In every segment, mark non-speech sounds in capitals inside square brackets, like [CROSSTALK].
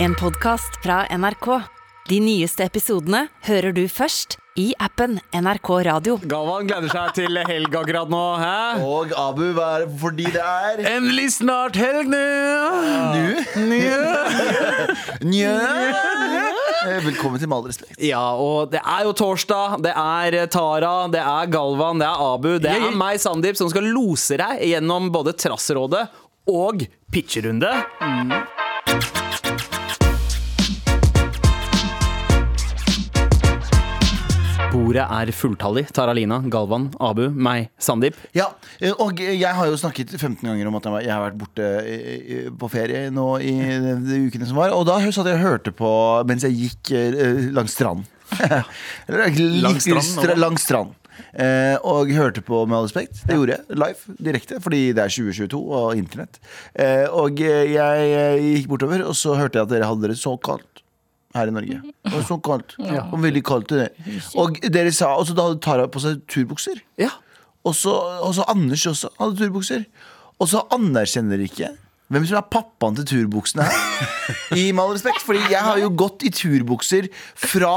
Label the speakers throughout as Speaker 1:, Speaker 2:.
Speaker 1: En podcast fra NRK. De nyeste episodene hører du først i appen NRK Radio.
Speaker 2: Galvan gleder seg til helg akkurat nå. Hæ?
Speaker 3: Og Abu, hva er det fordi det er
Speaker 2: Endelig snart helg nå!
Speaker 3: [LAUGHS] Njø! Velkommen til Med all respekt.
Speaker 2: Ja, og det er jo torsdag. Det er Tara, det er Galvan, det er Abu. Det er meg, Sandeep, som skal lose deg gjennom både Trassrådet og pitcherunde. Bordet er fulltallig. Tara Lina, Galvan, Abu, meg, Sandeep.
Speaker 3: Ja, eh, og jeg har jo snakket 15 ganger om at jeg har vært borte eh, eh, på ferie nå i de de ukene som var. Og da satt jeg og hørte på mens jeg gikk eh, langs stranden. [LAUGHS]
Speaker 4: Langs
Speaker 3: langs
Speaker 4: stranden,
Speaker 3: stranden?
Speaker 4: nå?
Speaker 3: Langs stranden. Eh, og hørte på Med all respekt. Det gjorde jeg live, direkte, fordi det er 2022 og internett. Eh, og eh, jeg eh, gikk bortover, og så hørte jeg at dere hadde det så kaldt her i Norge. Det var så kaldt. Og veldig kaldt. i Det. Og dere sa Og så da hadde Tara på seg turbukser.
Speaker 2: Ja.
Speaker 3: Og så, og så Anders også hadde turbukser. Og så anerkjenner de ikke hvem som er pappaen til turbuksene her. I med all respekt, fordi jeg har jo gått i turbukser fra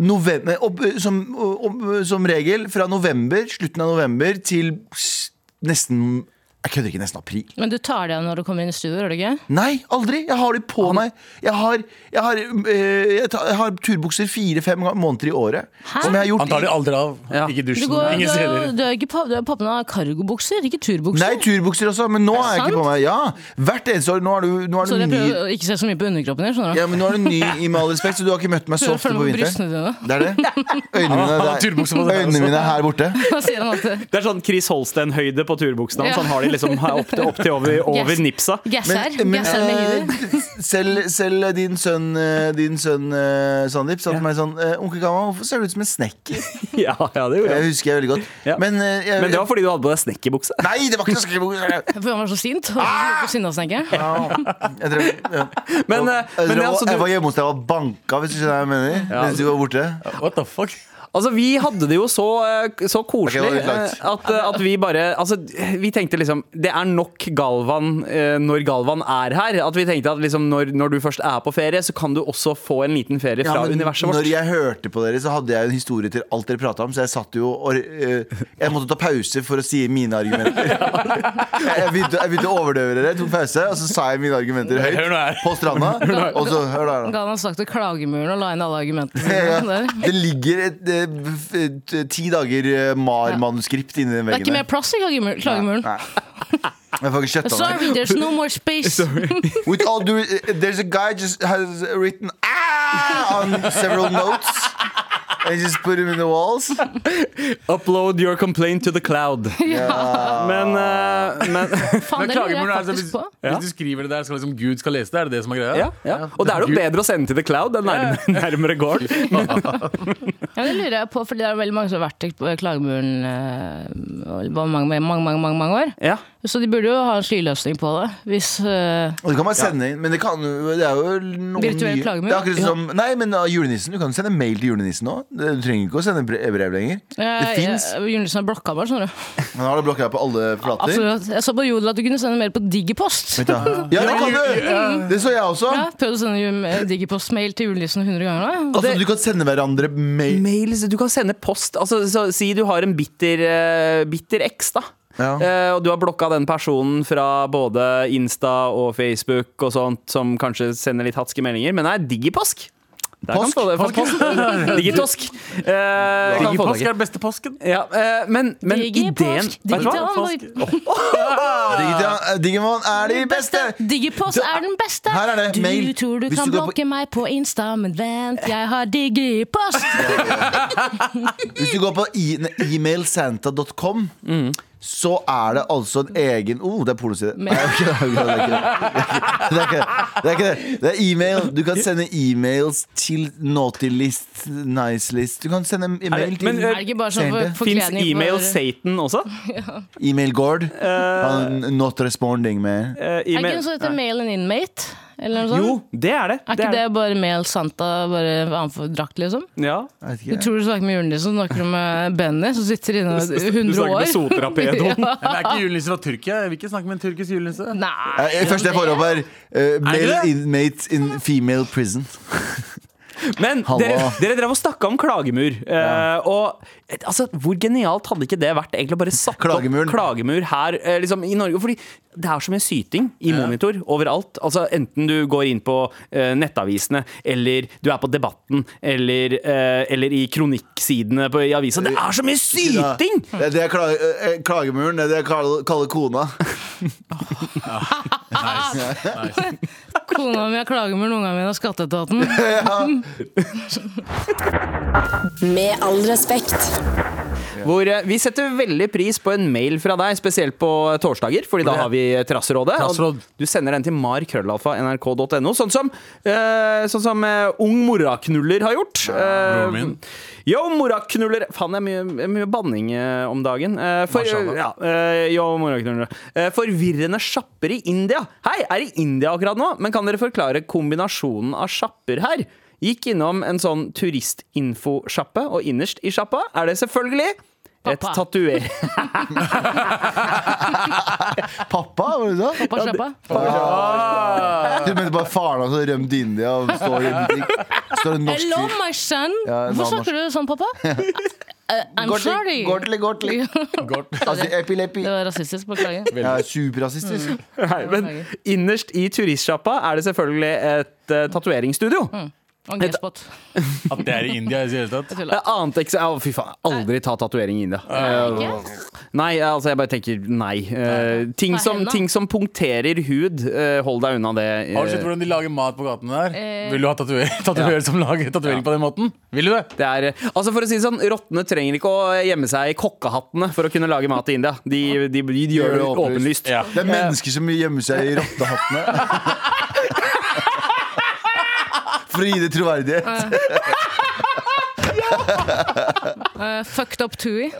Speaker 3: november opp, som, opp, som regel fra november, slutten av november, til s- nesten Jeg kødder ikke, nesten april.
Speaker 5: Men du tar det av når du kommer inn i studio, gjør du ikke?
Speaker 3: Nei, aldri! Jeg har de på meg. Jeg har, jeg har, eh, jeg tar, jeg har turbukser fire-fem ga- måneder i året.
Speaker 5: Hæ?
Speaker 3: Som jeg har gjort
Speaker 4: Han tar det aldri av.
Speaker 2: Ja.
Speaker 4: Ikke i
Speaker 5: Du,
Speaker 4: dusjen.
Speaker 5: går,
Speaker 4: Ingen steder.
Speaker 5: du, du er ikke pa- du er pappen av kargobukser, ikke turbukser.
Speaker 3: Nei, turbukser også, men nå er jeg ikke
Speaker 5: sant?
Speaker 3: på meg. Ja, Hvert eneste år. Nå er du, nå er
Speaker 5: så
Speaker 3: du
Speaker 5: jeg
Speaker 3: ny.
Speaker 5: prøver å ikke se så mye på underkroppen din, skjønner du.
Speaker 3: Ja, men nå er du ny i Med all respekt, så du har ikke møtt meg så ofte på
Speaker 5: Prøver å følge med på
Speaker 3: vinteren.
Speaker 5: brystene dine. [LAUGHS]
Speaker 3: Det er det. Øynene mine
Speaker 4: Han har
Speaker 3: er der,
Speaker 4: turbukse på seg
Speaker 3: øynene
Speaker 2: altså.
Speaker 4: også.
Speaker 3: mine er her borte.
Speaker 5: Da sier han eh, alltid
Speaker 2: Det er sånn Chris Holsten-høyde på turbuksene hans.
Speaker 5: Ja.
Speaker 2: Han har de liksom opp til, opp til over, over
Speaker 5: [LAUGHS] Yes.
Speaker 2: nipsa.
Speaker 5: Gasser. gasser med hinder.
Speaker 3: eh, [LAUGHS] selv, selv din sønn, eh, din sønn eh, Sandeep sa til meg sånn eh, Onkel Gamma, hvorfor ser du ut som en snekker?
Speaker 2: Ja, ja, det gjorde
Speaker 3: Jeg
Speaker 2: jeg.
Speaker 3: husker jeg veldig godt.
Speaker 2: Ja.
Speaker 3: Men, eh, jeg,
Speaker 2: Men det var fordi du hadde på deg snekkerbukse.
Speaker 3: Nei, det var ikke noe skrekkbok!
Speaker 5: [LAUGHS] For han var så sint.
Speaker 3: Ah!
Speaker 5: Og så sinna snekker.
Speaker 3: Jeg, drev, ja.
Speaker 2: Men, eh,
Speaker 3: jeg,
Speaker 2: men
Speaker 3: drev,
Speaker 2: altså,
Speaker 3: jeg
Speaker 2: du,
Speaker 3: var hjemme hos deg og var banka, hvis du skjønner hva jeg mener. Mens du var borte.
Speaker 4: What the fuck?
Speaker 2: altså, vi hadde det jo så, eh, så koselig
Speaker 3: Ok, det var litt
Speaker 2: eh,
Speaker 3: langt.
Speaker 2: at, eh, at vi bare Altså, vi tenkte liksom Det er nok Galvan eh, når Galvan er her. At vi tenkte at liksom når, når du først er på ferie, så kan du også få en liten ferie
Speaker 3: Ja,
Speaker 2: fra
Speaker 3: men
Speaker 2: universet vårt.
Speaker 3: Når jeg hørte på dere, så hadde jeg jo en historie til alt dere prata om. Så jeg satt jo og eh, Jeg måtte ta pause for å si mine
Speaker 4: [LAUGHS]
Speaker 3: argumenter. Jeg begynte, jeg begynte å overdøve dere, tok pause, og så sa jeg mine argumenter
Speaker 4: Hør nå her.
Speaker 3: høyt på stranda. Og så Hør der, da.
Speaker 5: Ga han slag til klagemuren og la inn alle argumentene sine.
Speaker 3: Ja,
Speaker 5: der.
Speaker 3: Det ligger et, eh, f- et, eh, ti dager eh, MAR-manuskript inni den
Speaker 5: Det er ikke
Speaker 3: veggen
Speaker 5: mer plass i klagemur- klagemuren.
Speaker 3: Nei. Jeg får ikke kjøtta meg.
Speaker 5: Sorry, there's no more
Speaker 3: [LAUGHS]
Speaker 5: space.
Speaker 3: With all due, eh, there's a guy just has written ah on several notes. And just put him in the
Speaker 5: [LAUGHS]
Speaker 3: walls.
Speaker 2: Upload your complaint to the cloud. Men, eh, men [LAUGHS]
Speaker 5: Faen,
Speaker 4: Men
Speaker 5: det lurer
Speaker 4: klagemuren
Speaker 3: altså
Speaker 5: jeg
Speaker 4: er så
Speaker 5: faktisk
Speaker 4: hvis,
Speaker 5: på.
Speaker 4: hvis du skriver det der, skal liksom Gud skal lese det? Er det det som er greia?
Speaker 2: ja, ja. Og det er jo
Speaker 4: Gud-
Speaker 2: bedre å sende til the cloud. Det er nærmere, nærmere gården.
Speaker 5: Ja, det lurer jeg på, for det er veldig mange som har vært i klagemuren eh, over mange, mange, mange, mange, mange år.
Speaker 2: Ja.
Speaker 5: Så de burde jo ha en skyløsning på det. Hvis eh,
Speaker 3: Og det kan man sende inn, men det, kan, jo- det er jo noen
Speaker 5: Virtuell
Speaker 3: nye-
Speaker 5: klagemur?
Speaker 3: Det er akkurat som, Nei, men uh, julenissen, du kan sende mail til julenissen nå Du trenger ikke å sende bre- brev lenger Det
Speaker 5: eh,
Speaker 3: finnes,
Speaker 5: eh, Julenissen har blokka meg, skjønner du.
Speaker 3: han har det blokket på alle plater
Speaker 5: Absolutt. Jeg så på Jodel at du kunne sende mer på Digipost.
Speaker 3: Vet du hva? Ja, det kan du, det så jeg også
Speaker 5: Ja, prøvde å sende ju- eh, Digipost-mail til julenissen 100 ganger nå.
Speaker 3: Altså, du kan sende hverandre mail
Speaker 2: mails, du kan sende post. Altså, så, si du har en bitter, eh, bitter eks, da.
Speaker 3: Ja.
Speaker 2: Eh, og du har blokka den personen fra både Insta og Facebook og sånt, som kanskje sender litt hatske meldinger. Men nei, digiposk. Der kan
Speaker 3: Posk?
Speaker 2: få det- få post.
Speaker 3: [LAUGHS]
Speaker 2: Digitosk. Eh, kan få
Speaker 4: Digipåske
Speaker 2: det.
Speaker 4: er den beste påsken.
Speaker 2: Ja, eh, men, men ideen
Speaker 5: Digipost.
Speaker 2: Vet du hva?
Speaker 5: Digital-
Speaker 3: Digita- Digimon er de beste
Speaker 5: Digipost er den beste!
Speaker 3: Her er det,
Speaker 5: Du
Speaker 3: mail.
Speaker 5: tror du
Speaker 3: Hvis
Speaker 5: kan
Speaker 3: du går på-
Speaker 5: blokke meg på Insta, men vent, jeg har Digipost!
Speaker 3: [LAUGHS] Hvis du går på i- ne- emailsanta.com Så er det altså en egen oh, det er pornoside Nei, det er ikke det, det er ikke det Det er ikke det Det er ikke det Det er e-mail Du kan sende e-mails til naughty list, nice list Du kan sende e-mail
Speaker 2: det-
Speaker 3: til
Speaker 2: men, eh,
Speaker 5: Er det ikke bare sånn
Speaker 3: Sende.
Speaker 5: for
Speaker 2: Fins
Speaker 5: forkledning for-
Speaker 2: e-mail Satan også?
Speaker 3: E-mail guard Han Not responding med
Speaker 2: Eh,
Speaker 5: Er det
Speaker 2: e-mail-
Speaker 5: sånn ikke noe som heter Mail and Inmate? Eller noe sånt?
Speaker 2: Jo, det er det.
Speaker 5: Er
Speaker 2: det
Speaker 5: ikke det
Speaker 2: er
Speaker 5: bare mel santa, bare annenfor drakt, liksom?
Speaker 2: det. Ja.
Speaker 3: Jeg vet
Speaker 5: Du
Speaker 3: ikke.
Speaker 5: tror du snakker med julenissen, så snakker du med Benny, som sitter inne i 100 år.
Speaker 2: Du snakker med Sotra Pedro.
Speaker 5: [LAUGHS] Ja.
Speaker 4: Men det er ikke julenisse fra Tyrkia. Jeg vil ikke snakke med en tyrkisk julenisse.
Speaker 5: Nei.
Speaker 3: Eh, Første jeg får opp, er eh, male
Speaker 4: det det?
Speaker 3: inmates in female prison.
Speaker 2: Men
Speaker 3: Hallo.
Speaker 2: dere, dere drev og snakka om klagemur. eh, og et- altså, Hvor genialt hadde ikke det vært? Egentlig å bare satt
Speaker 3: Klagemuren.
Speaker 2: opp klagemur her eh, liksom, i Norge. Fordi det er så mye syting i monitor overalt. Altså Enten du går inn på eh, nettavisene, eller du er på Debatten, eller, eh, eller i kronikksidene på, i avisa. Det er så mye syting!
Speaker 3: Det er det jeg klager, eh, eh, klagemuren. Det er det jeg kaller, kaller kona.
Speaker 5: Kona mi har klagemuren, ungene mine har skatteetaten.
Speaker 6: Med all respekt.
Speaker 2: Hvor eh, Vi setter veldig pris på en mail fra deg, spesielt på eh, torsdager, Fordi da har vi Trasserådet. og
Speaker 4: Trasseråd.
Speaker 2: Du sender den til markrøllalfa.nrk.no, sånn som, eh, sånn som eh, Ung Moraknuller har gjort. Eh,
Speaker 4: broren min.
Speaker 2: Yo, moraknuller Faen, det er mye, mye banning eh, om dagen. Eh, for,
Speaker 4: Mashallah.
Speaker 2: ja, eh, yo, moraknuller. Eh, forvirrende sjapper i India. Hei, er i India akkurat nå, men kan dere forklare kombinasjonen av sjapper her? Gikk innom en sånn turistinfosjappe, og innerst i sjappa er det selvfølgelig et
Speaker 5: Pappa.
Speaker 2: tatuer... [LAUGHS]
Speaker 3: Pappa, var det det?
Speaker 5: Pappa sjappa.
Speaker 3: Du mente bare faren hans har rømt til India og står i en Står en norsk
Speaker 5: Hello,
Speaker 3: fyr.
Speaker 5: my son.
Speaker 3: Ja,
Speaker 5: Hvorfor
Speaker 3: nå,
Speaker 5: snakker du sånn, pappa? Eh, I'm sorry.
Speaker 3: Gortli, gortli, gortli. [LAUGHS] Altså, epilepi.
Speaker 5: Det var rasistisk, beklager.
Speaker 3: Jeg er superrasistisk.
Speaker 2: Nei, men innerst i turistsjappa er det selvfølgelig et uh, tatoveringsstudio.
Speaker 5: On G-spot.
Speaker 4: At det er i India i det hele tatt.
Speaker 2: Eh, Annet ekse... Å, fy faen. Aldri ta tatovering i India.
Speaker 5: Ikke?
Speaker 2: Nei, altså jeg bare tenker nei. Eh, ting,
Speaker 5: Ta
Speaker 2: som,
Speaker 5: henda.
Speaker 2: ting som punkterer hud, eh, hold deg unna det. eh.
Speaker 4: Har du sett hvordan de lager mat på gatene der?
Speaker 5: Eh.
Speaker 4: Vil du ha tatover- tatoverer som lager tatovering på den måten? Vil du det?
Speaker 2: det er, eh, altså for å si det sånn, Rottene trenger ikke å gjemme seg i kokkehattene for å kunne lage mat i India. De, de, de, gjør det åpenlyst.
Speaker 4: Ja.
Speaker 3: Det er mennesker som gjemmer seg i rottehattene. [LAUGHS] For å gi det troverdighet.
Speaker 5: Eh, fucked up Tui.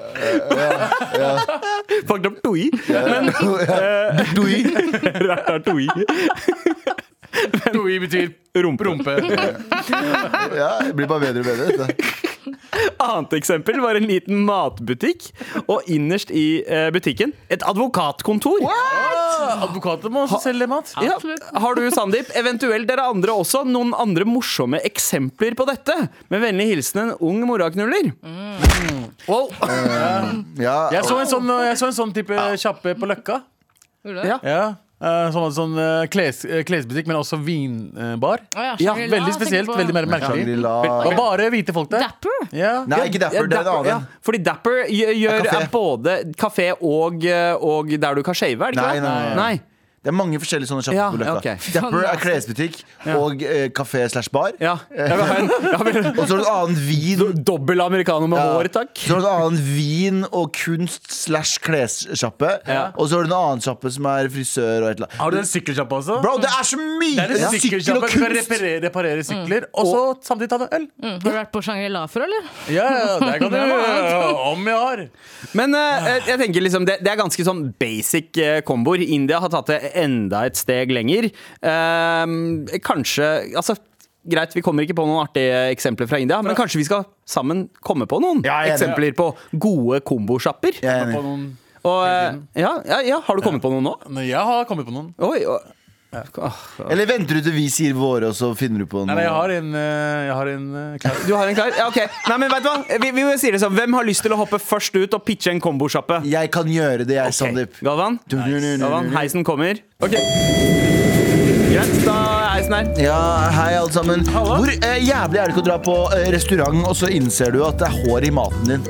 Speaker 2: [LAUGHS] Fucked up tui. [LAUGHS] Men, eh, [LAUGHS] Ratatouille.
Speaker 4: Doi betyr
Speaker 2: Rumpe.
Speaker 4: rumpe.
Speaker 3: Ja, det blir bare bedre og bedre. dette.
Speaker 2: Annet eksempel var en liten matbutikk, og innerst i eh, butikken et advokatkontor.
Speaker 4: [LAUGHS] Advokater må også selge mat.
Speaker 2: Ja. Har du, Sandeep, eventuelt dere andre også, noen andre morsomme eksempler på dette? Med vennlig hilsen en ung moraknuller.
Speaker 3: Mm. [LAUGHS]
Speaker 2: Wow.
Speaker 3: Ja,
Speaker 4: Jeg så en sånn, jeg så en sånn type kjappe på Løkka.
Speaker 5: Gjorde du
Speaker 2: Ja.
Speaker 5: det?
Speaker 4: Ja. eh, Som hadde sånn eh, kles, eh, klesbutikk, men også vinbar.
Speaker 5: Å ja,
Speaker 2: Ja,
Speaker 5: Shangri-La,
Speaker 4: Veldig spesielt.
Speaker 5: tenker på.
Speaker 4: Veldig mer merkelig.
Speaker 3: sånn Shangri-La
Speaker 4: Det var bare hvite folk der.
Speaker 5: Dapper?
Speaker 4: Ja.
Speaker 3: Nei, ikke
Speaker 2: Ja,
Speaker 3: derfor. Det er en
Speaker 2: Dapper, ja.
Speaker 3: annen.
Speaker 2: Fordi Dapper gjør, gjør
Speaker 3: kafé.
Speaker 2: er både kafé og, eh, og der du kan shave, er det ikke
Speaker 3: Nei,
Speaker 2: det?
Speaker 3: nei, nei. Det er mange forskjellige sånne
Speaker 2: Ja,
Speaker 3: sjapper på Løkka.
Speaker 2: ok.
Speaker 3: Dapper er klesbutikk og eh, kafé slash bar.
Speaker 2: Ja. Jeg vil ha
Speaker 3: [LAUGHS]
Speaker 2: en, jeg vil ha
Speaker 3: Og så er det en annen vin.
Speaker 2: en dobbel americano med
Speaker 3: Ja.
Speaker 2: hår, takk.
Speaker 3: Så er det en annen vin og kunst slash klessjappe.
Speaker 2: Ja.
Speaker 3: Og så er det en annen sjappe som er frisør og et eller annet.
Speaker 4: Har du en sykkelsjappe også?
Speaker 3: Bro, det er så mye!
Speaker 4: Det er en
Speaker 3: Sykkel og
Speaker 4: sykkelsjappe. Du kan
Speaker 3: kunst!
Speaker 4: reparere, reparere sykler, og så samtidig ta deg en øl.
Speaker 5: Mm, har du vært på Shangri-La før, eller?
Speaker 4: Ja, ja, [LAUGHS] det kan du gjøre. Om jeg har.
Speaker 2: Men eh, jeg- jeg tenker liksom, det, det er ganske sånn basic eh, komboer. India har tatt det enda et steg lenger. Ehm, kanskje Altså, greit, vi kommer ikke på noen artige eksempler fra India, men kanskje vi skal sammen komme på noen
Speaker 3: Ja, jeg er enig.
Speaker 2: eksempler på gode kombosjapper?
Speaker 3: Jeg er enig.
Speaker 4: På noen
Speaker 2: Og, eh, ja, ja, ja, har du kommet på noen nå?
Speaker 4: Nei, Jeg har kommet på noen.
Speaker 2: Oi, oi. Ah,
Speaker 3: Eller venter du til vi sier våre, og så finner du på
Speaker 4: Nei, nei, jeg
Speaker 3: noe?
Speaker 4: har en, eh, jeg har en eh, klar.
Speaker 2: [LAUGHS] Du har en klar? Ja, ok. Nei, men vet du hva? Vi, vi må si det sånn. Hvem har lyst til å hoppe først ut og pitche en kombosjappe?
Speaker 3: Jeg kan gjøre det, jeg, Sandeep.
Speaker 2: Ok, Galvan?
Speaker 3: Du- du- du- du- du-
Speaker 2: Galvan, heisen kommer. Ok. Greit, da er heisen her.
Speaker 3: Ja, hei, alle sammen. Hvor eh, jævlig er det ikke å dra på eh, restaurant, og så innser du at det er hår i maten din?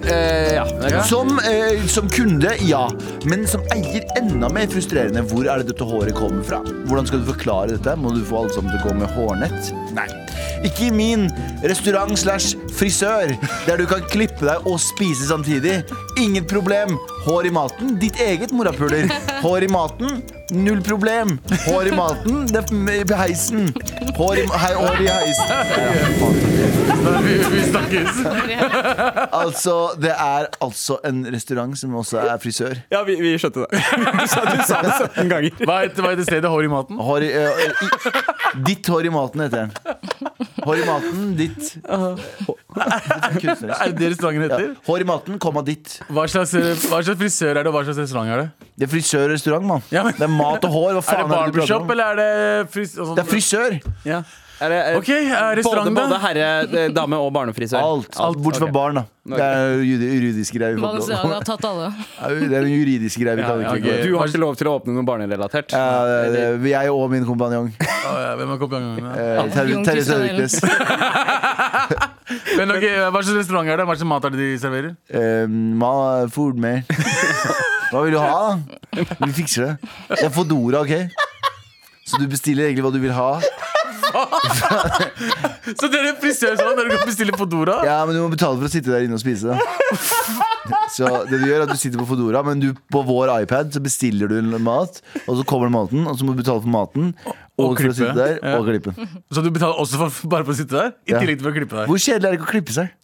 Speaker 2: Eh, ja, det er greit.
Speaker 3: Som, eh, som kunde, ja. Men som eier, enda mer frustrerende. Hvor er det dette håret kommer fra? Hvordan skal du forklare dette? Må du få alle sammen til å gå med hårnett? Nei. Ikke i min restaurant slash frisør, der du kan klippe deg og spise samtidig. Inget problem. Hår i maten. Ditt eget morapuler. Hår i maten. Null problem. Hår i maten. Det er heisen. Hår i, hei, hår i heisen.
Speaker 4: Vi, vi snakkes.
Speaker 3: Altså, det er altså en restaurant som også er frisør.
Speaker 2: Ja, vi, vi skjønte det. [LAUGHS] Du sa, du sa det 17 ganger.
Speaker 4: Hva heter hva heter stedet? Hår i maten?
Speaker 3: Hår i, eh, i, ditt hår i maten heter den. Hår i maten, ditt
Speaker 4: Er det det restauranten heter?
Speaker 3: Hår i maten, komma ditt.
Speaker 4: Hva slags, eh, hva slags frisør er det, og hva slags restaurant er det?
Speaker 3: Det er frisørrestaurant, mann.
Speaker 4: Ja, men-
Speaker 3: Det er mat og hår. Hva
Speaker 4: [LAUGHS] Er
Speaker 3: faen er det
Speaker 4: det
Speaker 3: du prater
Speaker 4: barbershop,
Speaker 3: om?
Speaker 4: eller er det fris... og sånn-
Speaker 3: Det er frisør.
Speaker 2: Ja. Er det, er,
Speaker 4: Ok, er
Speaker 2: både,
Speaker 4: restaurant,
Speaker 2: både
Speaker 4: da?
Speaker 2: herre, eh, dame og barnefrisør.
Speaker 3: Alt. Alt bortsett fra barn, da. Det er jo judi- juridisk greie. vi får ikke
Speaker 5: Balenciaga
Speaker 3: lov-
Speaker 5: har tatt alle.
Speaker 3: [LAUGHS] Det er en juridisk greie vi kan
Speaker 4: ja,
Speaker 3: ikke
Speaker 4: ok.
Speaker 2: Du har ikke lov til å åpne noe barnerelatert.
Speaker 3: Ja, det- det- Jeg og min kompanjong.
Speaker 4: Å, ja, Hvem er kompanjongen? da?
Speaker 3: eh, Terje
Speaker 5: Jon
Speaker 3: Terje
Speaker 5: Kristian
Speaker 3: Søviknes.
Speaker 4: Men ok, Hva slags restaurant er det? Hva slags mat er det de serverer?
Speaker 3: Eh, Ma, food mer. Hva vil du ha, da? Vi fikser det. Det er Fodora, OK? Så du bestiller egentlig hva du vil ha?
Speaker 4: Så det er en frisørsalong der du kan bestille Fodora?
Speaker 3: Ja, men du må betale for å sitte der inne og spise. da. Så det du gjør er at du sitter på Fodora, men du, på vår iPad så bestiller du en mat. Og så kommer maten, og så må du betale for maten. Og, for
Speaker 4: klippe.
Speaker 3: å sitte der,
Speaker 4: Ja.
Speaker 3: og klippe.
Speaker 4: Så du betaler også for, bare for å sitte der? I
Speaker 3: Ja.
Speaker 4: tillegg til å klippe deg?
Speaker 3: Hvor kjedelig er det ikke å klippe seg?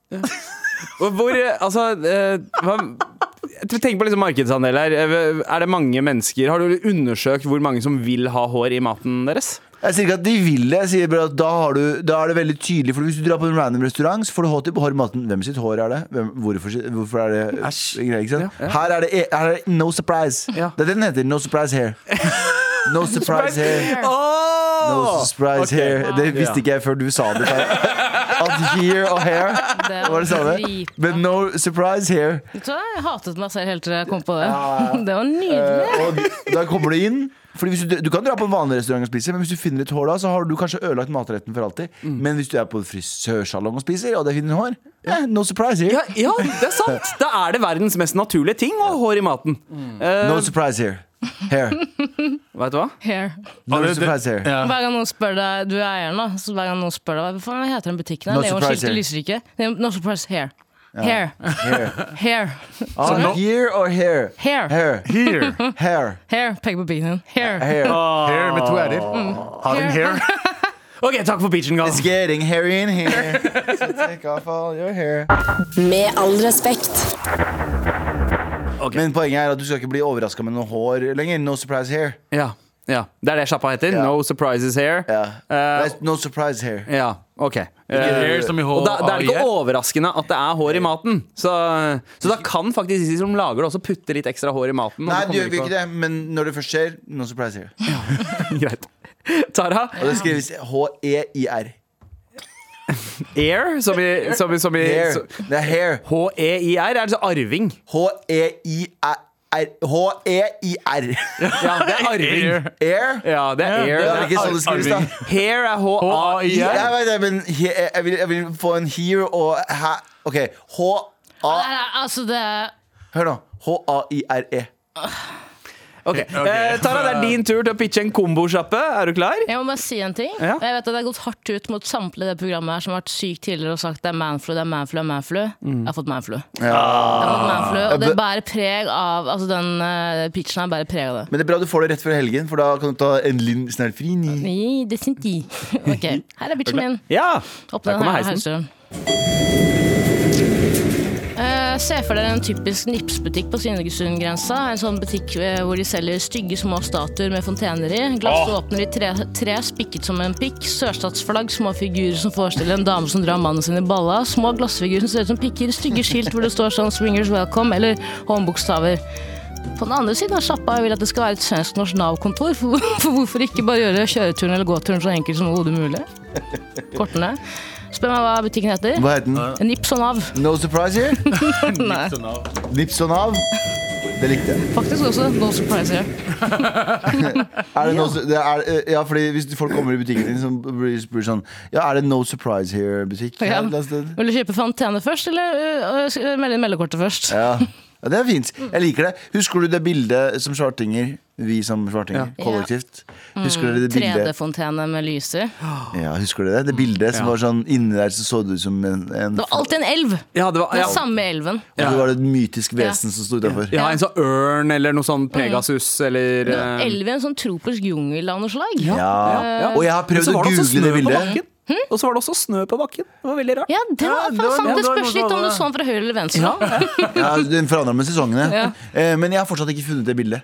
Speaker 2: Og Hvor, eh, altså eh, hva, jeg tenker på liksom markedsandel her. Eh, Er det mange mennesker Har du undersøkt hvor mange som vil ha hår i maten deres?
Speaker 3: Jeg sier ikke at de vil det, jeg sier bare at da, har du, da er det veldig tydelig. For hvis du drar på en random restaurant, så får du hår til- hår i maten. Hvem sitt hår er det? Hvem, hvorfor, sitt- hvorfor er det greier, ikke sant? Her, er det, e- her er det no surprise.
Speaker 2: Ja.
Speaker 3: Det er det den heter. No surprise [LAUGHS] hair. No surprise hair. No surprise hair. Det visste ikke jeg før du sa det. At hair og hair var det samme.
Speaker 5: dritbra.
Speaker 3: But no surprise hair.
Speaker 5: Vet du hva? Jeg hatet meg selv helt til jeg kom på det.
Speaker 3: Ja, ja.
Speaker 5: [LAUGHS] Det var nydelig.
Speaker 3: Eh, og da kommer du inn. Fordi hvis du, du kan dra på en vanlig restaurant og spise, men hvis du finner et hår da, så har du kanskje ødelagt matretten for alltid. Men hvis du er på en frisørsalong og spiser, og der finner du hår, eh, no surprise here.
Speaker 2: Ja, ja, det er sant! Da er det verdens mest naturlige ting å ha hår i maten.
Speaker 3: Mm.
Speaker 2: Eh,
Speaker 3: No surprise here.
Speaker 4: [LAUGHS]
Speaker 3: Hair.
Speaker 2: vet du hva?
Speaker 5: Here.
Speaker 3: No
Speaker 4: Ja, det- det-
Speaker 3: surprise here.
Speaker 4: Ja.
Speaker 5: Hver gang noen spør deg, du er eieren da, så hver gang noen spør deg hva faen hva heter den butikken? her?
Speaker 3: No surprise
Speaker 5: Neonskiltet
Speaker 3: here.
Speaker 5: lyser ikke. Ne- No surprise here. Here. [LAUGHS]
Speaker 3: Hair.
Speaker 5: Here.
Speaker 3: Ah,
Speaker 4: no-
Speaker 3: here or hair?
Speaker 5: Here.
Speaker 3: Hair.
Speaker 4: Here.
Speaker 3: [LAUGHS]
Speaker 4: Ah.
Speaker 3: Hair.
Speaker 5: Here. Pek på bilen din. Here.
Speaker 3: Hair.
Speaker 4: Hair med to r-er. Har en hair.
Speaker 2: OK, takk for peachen, Gal.
Speaker 3: It's getting hairy in
Speaker 4: [LAUGHS]
Speaker 3: here. So take off all your hair.
Speaker 6: Med all respekt.
Speaker 3: Men poenget er at du skal ikke bli overraska med noe hår lenger. No surprise hair.
Speaker 2: Ja, ja. Det er det sjappa heter.
Speaker 3: Ja.
Speaker 2: No surprises here.
Speaker 3: Ja.
Speaker 2: Eh,
Speaker 3: That's no surprise hair.
Speaker 2: ja, OK. Eh,
Speaker 4: Hair som i H-
Speaker 2: og da, det er ikke
Speaker 4: AIR.
Speaker 2: overraskende at det er hår i maten. Så, så da kan faktisk de som lager det, også putte litt ekstra hår i maten. og
Speaker 3: Nei,
Speaker 2: så
Speaker 3: det
Speaker 2: kommer
Speaker 3: gjør vi ikke det, men når det først skjer, no surprise here.
Speaker 2: til å- [LAUGHS] Greit. Tara,
Speaker 3: Og det skrives E H-E-I-R.
Speaker 2: air, som i, som i, som i
Speaker 3: Hair.
Speaker 2: så-
Speaker 3: Det er hair. E
Speaker 2: H-E-I-R er altså arving.
Speaker 3: H-E-I-R. E H-E-I-R.
Speaker 2: Ja, det er arving.
Speaker 3: Air?
Speaker 2: Ja, det er air.
Speaker 3: Det er ikke sånn det
Speaker 2: ar-
Speaker 3: skrives, da.
Speaker 4: arving.
Speaker 2: Hair er H-A-I-R.
Speaker 3: Jeg vet det, men he, jeg, vil, jeg vil få en here og hæ OK. H-A
Speaker 5: Nei, nei, Altså, det er
Speaker 3: Hør nå. H-A-I-R-E.
Speaker 2: Ok, Eh, Tara, det er din tur til å pitche en kombosjappe. Er du klar?
Speaker 5: Jeg må bare si en ting.
Speaker 2: Ja.
Speaker 5: Jeg vet at Det har gått hardt ut mot samtlige i det programmet her som har vært sykt tidligere og sagt det er manflu, det er manflu, det er manflu. Jeg har fått manflu. Jeg har fått manflu. Og det bærer preg av Altså, den eh, pitchen her bærer preg av det.
Speaker 3: Men det er bra du får det rett før helgen, for da kan du ta en liten snart fri. ni.
Speaker 5: Nei, det er ikke. [LAUGHS] Ok, Her er bitchen min.
Speaker 2: Ja.
Speaker 5: Opp
Speaker 2: Der
Speaker 5: den
Speaker 2: kommer
Speaker 5: her,
Speaker 2: heisen.
Speaker 5: heisen. Eh, se for dere en typisk Nipsbutikk på Svinesundgrensa. En sånn butikk eh, hvor de selger stygge små statuer med fontener i. Glassåpner i tre, tre spikket som en pikk. Sørstatsflagg, små figurer som forestiller en dame som drar mannen sin i balla. Små glassfigurer som ser ut som pikker. Stygge skilt hvor det står sånn 'Swingers Welcome' eller håndbokstaver. På den andre siden av sjappa vil jeg at det skal være et svensk-norsk Nav-kontor. For, for hvorfor ikke bare gjøre kjøreturen eller gåturen så enkel som hodet mulig? Kortene. Spør meg hva butikken heter.
Speaker 3: Hva heter den?
Speaker 5: Nips og Nav.
Speaker 3: No surprise here?
Speaker 5: Nei,
Speaker 3: Nips og nav? Det likte jeg.
Speaker 5: faktisk også No Surprise Here.
Speaker 3: Er det no, det er, eh, ja, fordi hvis folk kommer i butikken din, så blir de spurt sånn Ja, er det No Surprise Here-butikk?
Speaker 5: Ja.
Speaker 3: et eller annet sted?
Speaker 5: Vil du kjøpe Fantene først, eller øh, øh, melde inn meldekortet først?
Speaker 3: Ja. ja, det er fint. Jeg liker det. Husker du det bildet som Svartinger vi som svartinger,
Speaker 5: Ja. Mm.
Speaker 3: kollektivt. Husker dere det bildet?
Speaker 5: 3D-fontene med lyser.
Speaker 3: Ja, husker dere det? Det bildet som var sånn inni der, så så det ut som en, en
Speaker 5: Det var alltid en elv!
Speaker 2: Ja, det var,
Speaker 5: Den
Speaker 2: ja,
Speaker 5: samme elven.
Speaker 3: Og så var det et mytisk vesen som sto utafor.
Speaker 2: ja, en sånn ørn eller noe sånn Pegasus eller
Speaker 5: Det
Speaker 2: eh,
Speaker 5: var elv i en sånn tropisk jungel av noe slag.
Speaker 3: Ja.
Speaker 5: eh,
Speaker 3: Og jeg har prøvd
Speaker 2: Men så
Speaker 3: å
Speaker 2: var det også
Speaker 3: google
Speaker 2: snø
Speaker 3: det
Speaker 2: på
Speaker 3: bildet.
Speaker 2: bakken. Og så var det også snø på bakken. Det var veldig rart.
Speaker 5: Hm? Ja, det var
Speaker 2: det var-
Speaker 5: faen
Speaker 2: ja,
Speaker 5: sant. Det
Speaker 2: det var-
Speaker 5: spørs litt om du så den fra høyre eller venstre.
Speaker 3: Ja, den forandra med sesongene. Eh, Men jeg har fortsatt ikke funnet det bildet.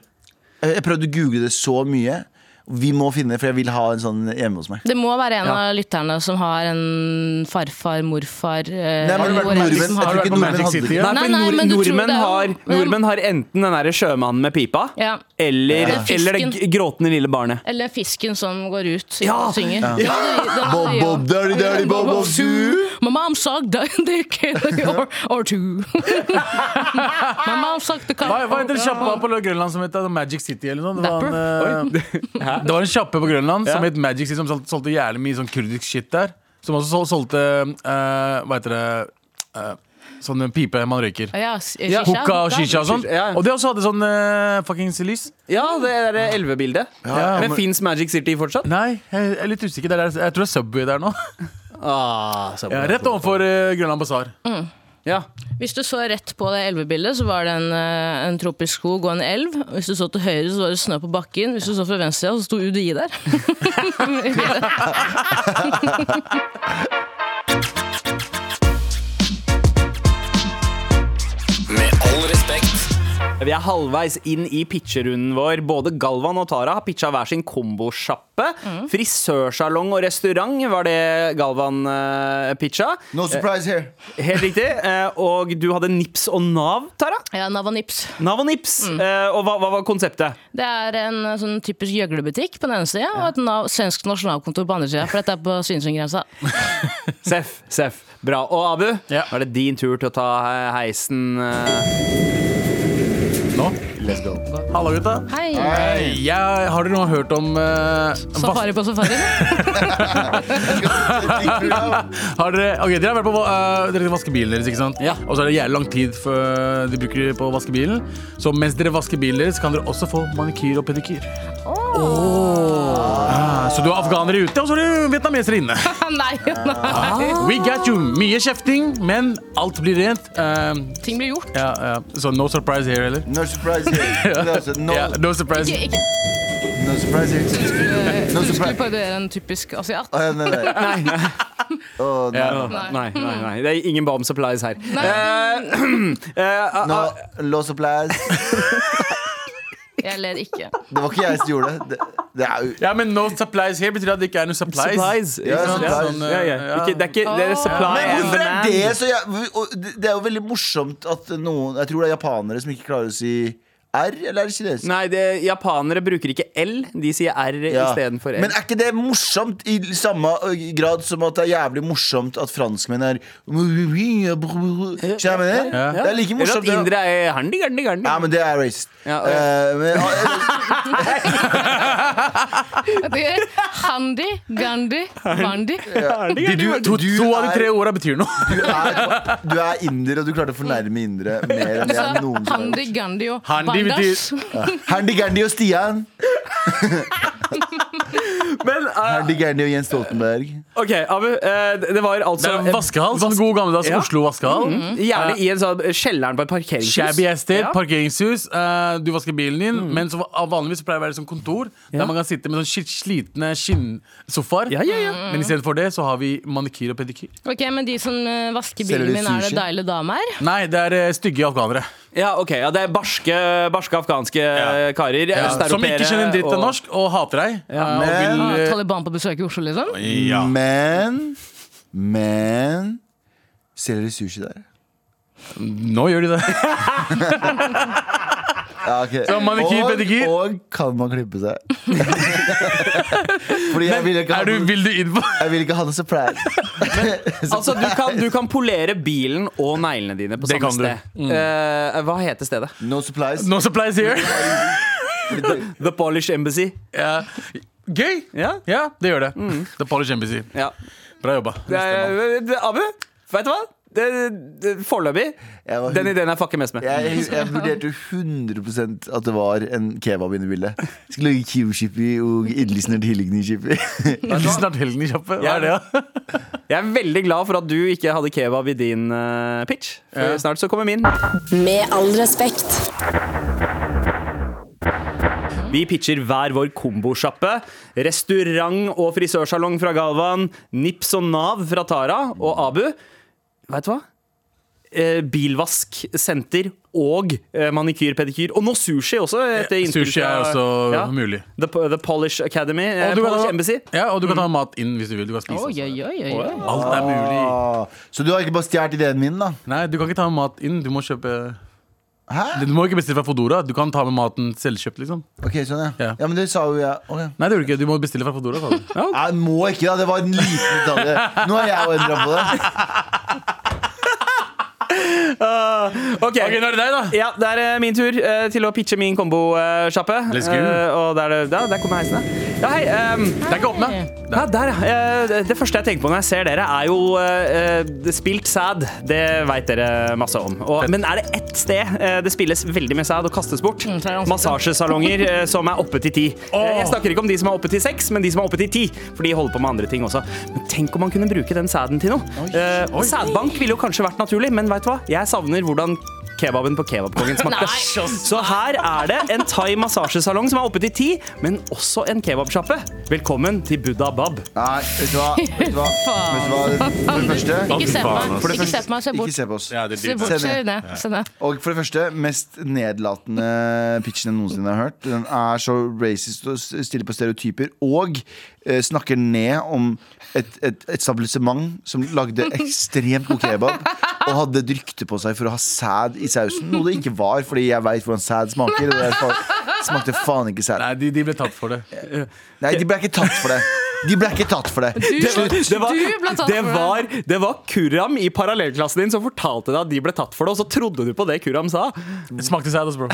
Speaker 3: Eh, Jeg prøvde å google det så mye. Vi må finne det, for jeg vil ha en sånn hjemme hos meg.
Speaker 5: Det må være en av lytterne som har en farfar, morfar eh,
Speaker 3: Nei, men det har vært
Speaker 5: hvor er det
Speaker 3: nordmenn.
Speaker 5: som
Speaker 3: Jeg tror ikke
Speaker 5: har-
Speaker 4: Har du vært på
Speaker 3: nordmenn
Speaker 4: Magic
Speaker 3: hadde
Speaker 4: City,
Speaker 3: det.
Speaker 4: ja?
Speaker 2: Nei,
Speaker 5: Nei,
Speaker 2: for
Speaker 5: nei,
Speaker 2: nord,
Speaker 5: men du tror
Speaker 2: nordmenn,
Speaker 5: det er-
Speaker 2: har,
Speaker 5: men-
Speaker 2: nordmenn har enten den derre sjømannen med pipa,
Speaker 5: Ja.
Speaker 2: eller,
Speaker 5: Eller fisken.
Speaker 2: eller det g- gråtende lille barnet.
Speaker 5: Eller fisken som går ut
Speaker 2: Ja!
Speaker 5: og synger. Ja, det- det-
Speaker 3: Bob,
Speaker 5: det-
Speaker 3: bob, daddy, daddy, bob, bob, zoo.
Speaker 5: My mom sucked a [LAUGHS] dick or, or two. [LAUGHS] My mom sucked a cock.
Speaker 4: Hva, hva heter sjappa på Grønland som het Magic City? eller noe sånt? Det var en, [LAUGHS] eh, det var en sjappe på Grønland som
Speaker 2: Ja.
Speaker 4: het Magic City, som sol- solgte jævlig mye sånn kurdisk shit der. Som også sol- solgte eh, Hva heter det eh, Sånn pipe man røyker.
Speaker 5: Ja, s- shisha,
Speaker 4: Ja, Hukka og
Speaker 5: hookah.
Speaker 4: shisha og sånn.
Speaker 2: Ja.
Speaker 4: Og det også hadde sånn eh, fuckings lys.
Speaker 2: Ja, det er det elvebildet.
Speaker 3: ja,
Speaker 2: men
Speaker 3: men-
Speaker 2: fins Magic City fortsatt?
Speaker 4: Nei, jeg er litt usikker. Det er der, jeg tror det er Subway der nå.
Speaker 2: Ah, så
Speaker 4: Ja,
Speaker 2: bra.
Speaker 4: rett overfor eh, Grønland basar.
Speaker 2: Ja.
Speaker 5: Hvis du så rett på det elvebildet, så var det en, eh, en tropisk skog og en elv. Hvis du så til høyre, så var det snø på bakken. Hvis du så fra venstre, så sto UDI der.
Speaker 7: Med all respekt.
Speaker 2: Vi er halvveis inn i pitcherunden vår. Både Galvan og Tara har pitcha hver sin kombosjappe. Frisørsalong og restaurant var det Galvan eh, pitcha.
Speaker 3: No surprise here.
Speaker 2: Helt riktig. Eh, og du hadde Nips og Nav, Tara.
Speaker 5: ja, Navanips.
Speaker 2: Nav og Nips. Eh, og hva, hva var konseptet?
Speaker 5: Det er en eh, sånn typisk gjøglebutikk på den ene sida, og et nav, svensk nasjonalkontor på andre sida. For dette er på Svinesundgrensa.
Speaker 2: Seff, seff. Bra. Og Abu,
Speaker 4: Ja.
Speaker 2: nå er det din tur til å ta eh, heisen. eh.
Speaker 4: Nå.
Speaker 3: Let's go.
Speaker 4: Hallo, gutta.
Speaker 5: Hei!
Speaker 4: Jeg, har dere noe hørt om eh, vas-
Speaker 5: Safari på safari.
Speaker 4: [LAUGHS] Har dere, ok, dere har vært på eh, Dere skal vaske bilen deres, ikke sant?
Speaker 2: Ja.
Speaker 4: Og så er det jævlig lang tid for, eh, de bruker på å vaske bilen. Så mens dere vasker bilen deres, kan dere også få manikyr og pedikyr. Ah, så du har afghanere ute, og så har du vietnamesere inne.
Speaker 5: [LAUGHS] nei, nei.
Speaker 4: We got you. Mye kjefting, men alt blir rent. Eh,
Speaker 5: Ting blir gjort.
Speaker 4: ja, ja. Så no surprise here, eller?
Speaker 3: No surprise [LAUGHS] here. No, su- no,
Speaker 4: Ja, no surprise.
Speaker 5: Ikke, ikke
Speaker 3: no surprise here. No
Speaker 5: skulle
Speaker 3: surprise.
Speaker 5: parodiere en typisk asiat.
Speaker 3: Å, ja, nei, nei. Å, nei.
Speaker 2: Nei, nei, nei. Det er ingen bomb supplies her. [CLEARS THROAT] Eh, eh,
Speaker 3: No, no surprise.
Speaker 5: Jeg ler ikke.
Speaker 3: Det var ikke jeg som gjorde det. Det, det er jo
Speaker 4: Ja, men no supplies here betyr at det ikke er noe supplies.
Speaker 2: supplies.
Speaker 3: Ja,
Speaker 2: ikke sant?
Speaker 3: supplies.
Speaker 2: Sånn, eh, ja, ja. Ikke, det er ikke det er supply
Speaker 3: Men
Speaker 2: and
Speaker 3: hvorfor er
Speaker 2: demand.
Speaker 3: det så jæv- og det- Det er jo veldig morsomt at noen Jeg tror det er japanere som ikke klarer å si R, eller er det kinesisk?
Speaker 2: Nei, det, japanere bruker ikke L, de sier R
Speaker 3: Ja.
Speaker 2: istedenfor L.
Speaker 3: Men er ikke det morsomt i samme grad som at det er jævlig morsomt at franskmenn er Skjønner du hva jeg mener? Det er like
Speaker 2: Eller
Speaker 3: morsomt.
Speaker 2: at
Speaker 3: det-
Speaker 2: indere er harndi, garndi, garndi.
Speaker 3: Ja, men det er racist.
Speaker 2: Ja, og-
Speaker 3: Eh, men,
Speaker 5: Handi, Gandhi, Bandi.
Speaker 4: De, du, to,
Speaker 3: du
Speaker 4: to av de
Speaker 3: er-
Speaker 4: tre orda betyr
Speaker 2: [LAUGHS]
Speaker 4: noe.
Speaker 3: du, er, du er inder, og du klarte å fornærme indere mer enn
Speaker 5: Du
Speaker 3: jeg
Speaker 5: sa
Speaker 3: noensinne har gjort.
Speaker 5: Handi, Gandhi og
Speaker 4: Handi
Speaker 5: Bandas.
Speaker 3: Herndi Gerndi og Stian.
Speaker 2: Men, eh,
Speaker 3: Herndi Gerndi og Jens Stoltenberg.
Speaker 2: OK, Abu. eh, det var
Speaker 4: Det
Speaker 2: altså
Speaker 4: er en vaskehall. Sånn god gammeldags
Speaker 2: Ja.
Speaker 4: Oslo vaskehall.
Speaker 2: Gjerne i en sånn kjelleren på et parkeringshus.
Speaker 4: Shabby estate, parkeringshus. eh, du vasker bilen din,
Speaker 2: Mm.
Speaker 4: men så, va- vanligvis så pleier det å være sånn kontor der man kan sitte med sånn skit- slitne skinnsofaer. Mm.
Speaker 2: Ja, ja, ja.
Speaker 4: Men i stedet for det så har vi manikyr og pedikyr.
Speaker 5: Ok, men de som eh, vasker
Speaker 3: Selger
Speaker 5: bilen
Speaker 3: de
Speaker 5: min, er det
Speaker 3: sushi?
Speaker 5: deilige damer?
Speaker 4: Nei, det er eh, stygge afghanere.
Speaker 2: Ja, ok, ja, det er barske, barske afghanske eh, karer. eh,
Speaker 4: Som ikke
Speaker 2: østeuropeere
Speaker 4: skjønner en dritt av
Speaker 2: og-
Speaker 4: norsk og hater deg. eh,
Speaker 3: men-
Speaker 4: og
Speaker 5: Ah,
Speaker 4: vil, eh,
Speaker 5: Taliban på besøk i Oslo, liksom?
Speaker 4: ja.
Speaker 3: Men Men Selger de sushi der?
Speaker 4: Nå gjør de
Speaker 2: [LAUGHS]
Speaker 4: det.
Speaker 3: Ja, ok.
Speaker 4: Så manikyr,
Speaker 3: Og-
Speaker 4: pedikyr.
Speaker 3: Og kan man klippe [LAUGHS] seg? Fordi jeg vil ikke ha
Speaker 4: Er du, vil du inn på [LAUGHS]
Speaker 3: jeg vil ikke ha noe surprise.
Speaker 2: Altså, du kan, du kan polere bilen og neglene dine på
Speaker 4: Det
Speaker 2: samme
Speaker 4: kan du.
Speaker 2: sted. Eh, hva heter stedet?
Speaker 3: No surprise.
Speaker 4: No supplies here.
Speaker 2: The Polish Embassy.
Speaker 4: Ja. Gøy!
Speaker 2: Ja. Mm.
Speaker 4: Ja, det gjør det. The Polish Embassy.
Speaker 2: ja. Eh,
Speaker 4: Bra jobba.
Speaker 2: Det er, Abu, vet du hva? det, det, foreløpig.
Speaker 3: Jeg var-
Speaker 2: Den ideen jeg fucker mest med.
Speaker 3: Jeg, jeg vurderte 100 at det var en kebab inne i bildet. Skulle lage kiwi-chippy og idlisner til [LAUGHS] hilligny-chippy.
Speaker 4: Snart helgen i kjappe. Hva er det, da?
Speaker 2: Jeg er veldig glad for at du ikke hadde kebab i din eh, pitch. For snart så kommer min.
Speaker 6: Med all respekt.
Speaker 2: Vi pitcher hver vår kombosjappe. Restaurant og frisørsalong fra Galvan. Nips og Nav fra Tara og Abu. Vet du hva? Eh, Bilvasksenter og eh, manikyr, pedikyr. Og nå sushi også. Etter innspill
Speaker 4: Sushi er
Speaker 2: fra-
Speaker 4: også
Speaker 2: Ja.
Speaker 4: mulig.
Speaker 2: The, the Polish Academy. eh,
Speaker 4: Og du kan
Speaker 2: Polish
Speaker 4: ta-
Speaker 2: Embassy.
Speaker 4: Ja, og du kan ta
Speaker 2: Mm.
Speaker 4: mat inn hvis du vil. Du kan
Speaker 2: Oh,
Speaker 4: spise.
Speaker 5: Oi,
Speaker 4: også.
Speaker 5: oi, oi, oi.
Speaker 4: Alt er
Speaker 3: Ah,
Speaker 4: mulig.
Speaker 3: Så du har ikke bare stjålet ideen min, da?
Speaker 4: Nei, du kan ikke ta med mat inn. Du må kjøpe
Speaker 3: Hæ?
Speaker 4: Du må ikke bestille fra Fodora. Du kan ta med maten selvkjøpt, liksom.
Speaker 3: Ok, sånn, ja.
Speaker 4: Ja.
Speaker 3: ja men det sa jo jeg. Ok.
Speaker 4: Nei, det gjør du ikke. Du må bestille fra Fodora. sa du.
Speaker 3: Jeg må ikke, da. Det var en liten detalj. Nå har jeg jo endra på det.
Speaker 2: Ok,
Speaker 4: Ok, nå er det deg, da.
Speaker 2: [LAUGHS] Ja, det er eh, min tur eh, til å pitche min kombosjappe.
Speaker 4: Let's go.
Speaker 2: Eh, og der, er det- ja, der kommer heisen, ja. Ja, hei. ehm,
Speaker 4: Det er ikke åpna.
Speaker 2: Ja, der, ja. Eh, det- Det første jeg tenker på når jeg ser dere, er jo eh, eh, det spilt sæd. Det veit dere masse om. Og, men er det ett sted eh, det spilles veldig mye sæd og kastes bort?
Speaker 5: Mm, fra ansiktet.
Speaker 2: Massasjesalonger eh, som er oppe til ti. Eh, Jeg snakker ikke om de som er oppe til seks, men de som er oppe til ti. For de holder på med andre ting også. Men tenk om man kunne bruke den sæden til noe. Eh, og Sædbank ville jo kanskje vært naturlig, men veit du hva? Jeg savner hvordan kebaben på Kebabkongen smakte.
Speaker 5: Nei.
Speaker 2: Så her er det en thai-massasjesalong som er oppe til ti, men også en kebabsjappe. Velkommen til Buddha Bab.
Speaker 3: Nei, vet du hva?
Speaker 5: [LAUGHS]
Speaker 3: Vet du hva? Vet du hva? For det første
Speaker 5: Ikke se på
Speaker 4: faen,
Speaker 5: meg.
Speaker 4: ass.
Speaker 3: for det
Speaker 5: Ikke se
Speaker 3: første-
Speaker 5: på meg, se
Speaker 3: Ikke
Speaker 5: bort.
Speaker 3: se på oss.
Speaker 4: Ja, det
Speaker 5: Se
Speaker 4: er
Speaker 5: bort,
Speaker 3: Se
Speaker 5: se
Speaker 3: ned.
Speaker 5: ned. Se ned.
Speaker 3: Og for det første, mest nedlatende pitchen jeg noensinne har hørt. Den er så racist og s- stiller på stereotyper, og eh, snakker ned om et, et etablissement som
Speaker 5: [LAUGHS]
Speaker 3: lagde ekstremt god kebab, og hadde et rykte på seg for å ha sæd i sausen, noe det ikke var, fordi jeg veit hvordan sæd smaker. Og det fa smakte faen ikke sæd.
Speaker 4: Nei, de, de ble tatt for det.
Speaker 3: Nei, de ble ikke tatt for det. De ble ikke tatt for det. Slutt.
Speaker 2: Det var,
Speaker 5: Du ble tatt
Speaker 2: det
Speaker 5: for det.
Speaker 2: var, det var Kurram i parallellklassen din som fortalte deg at de ble tatt for det, og så trodde du på det Kurram sa.
Speaker 4: Det smakte sæd, altså, bro.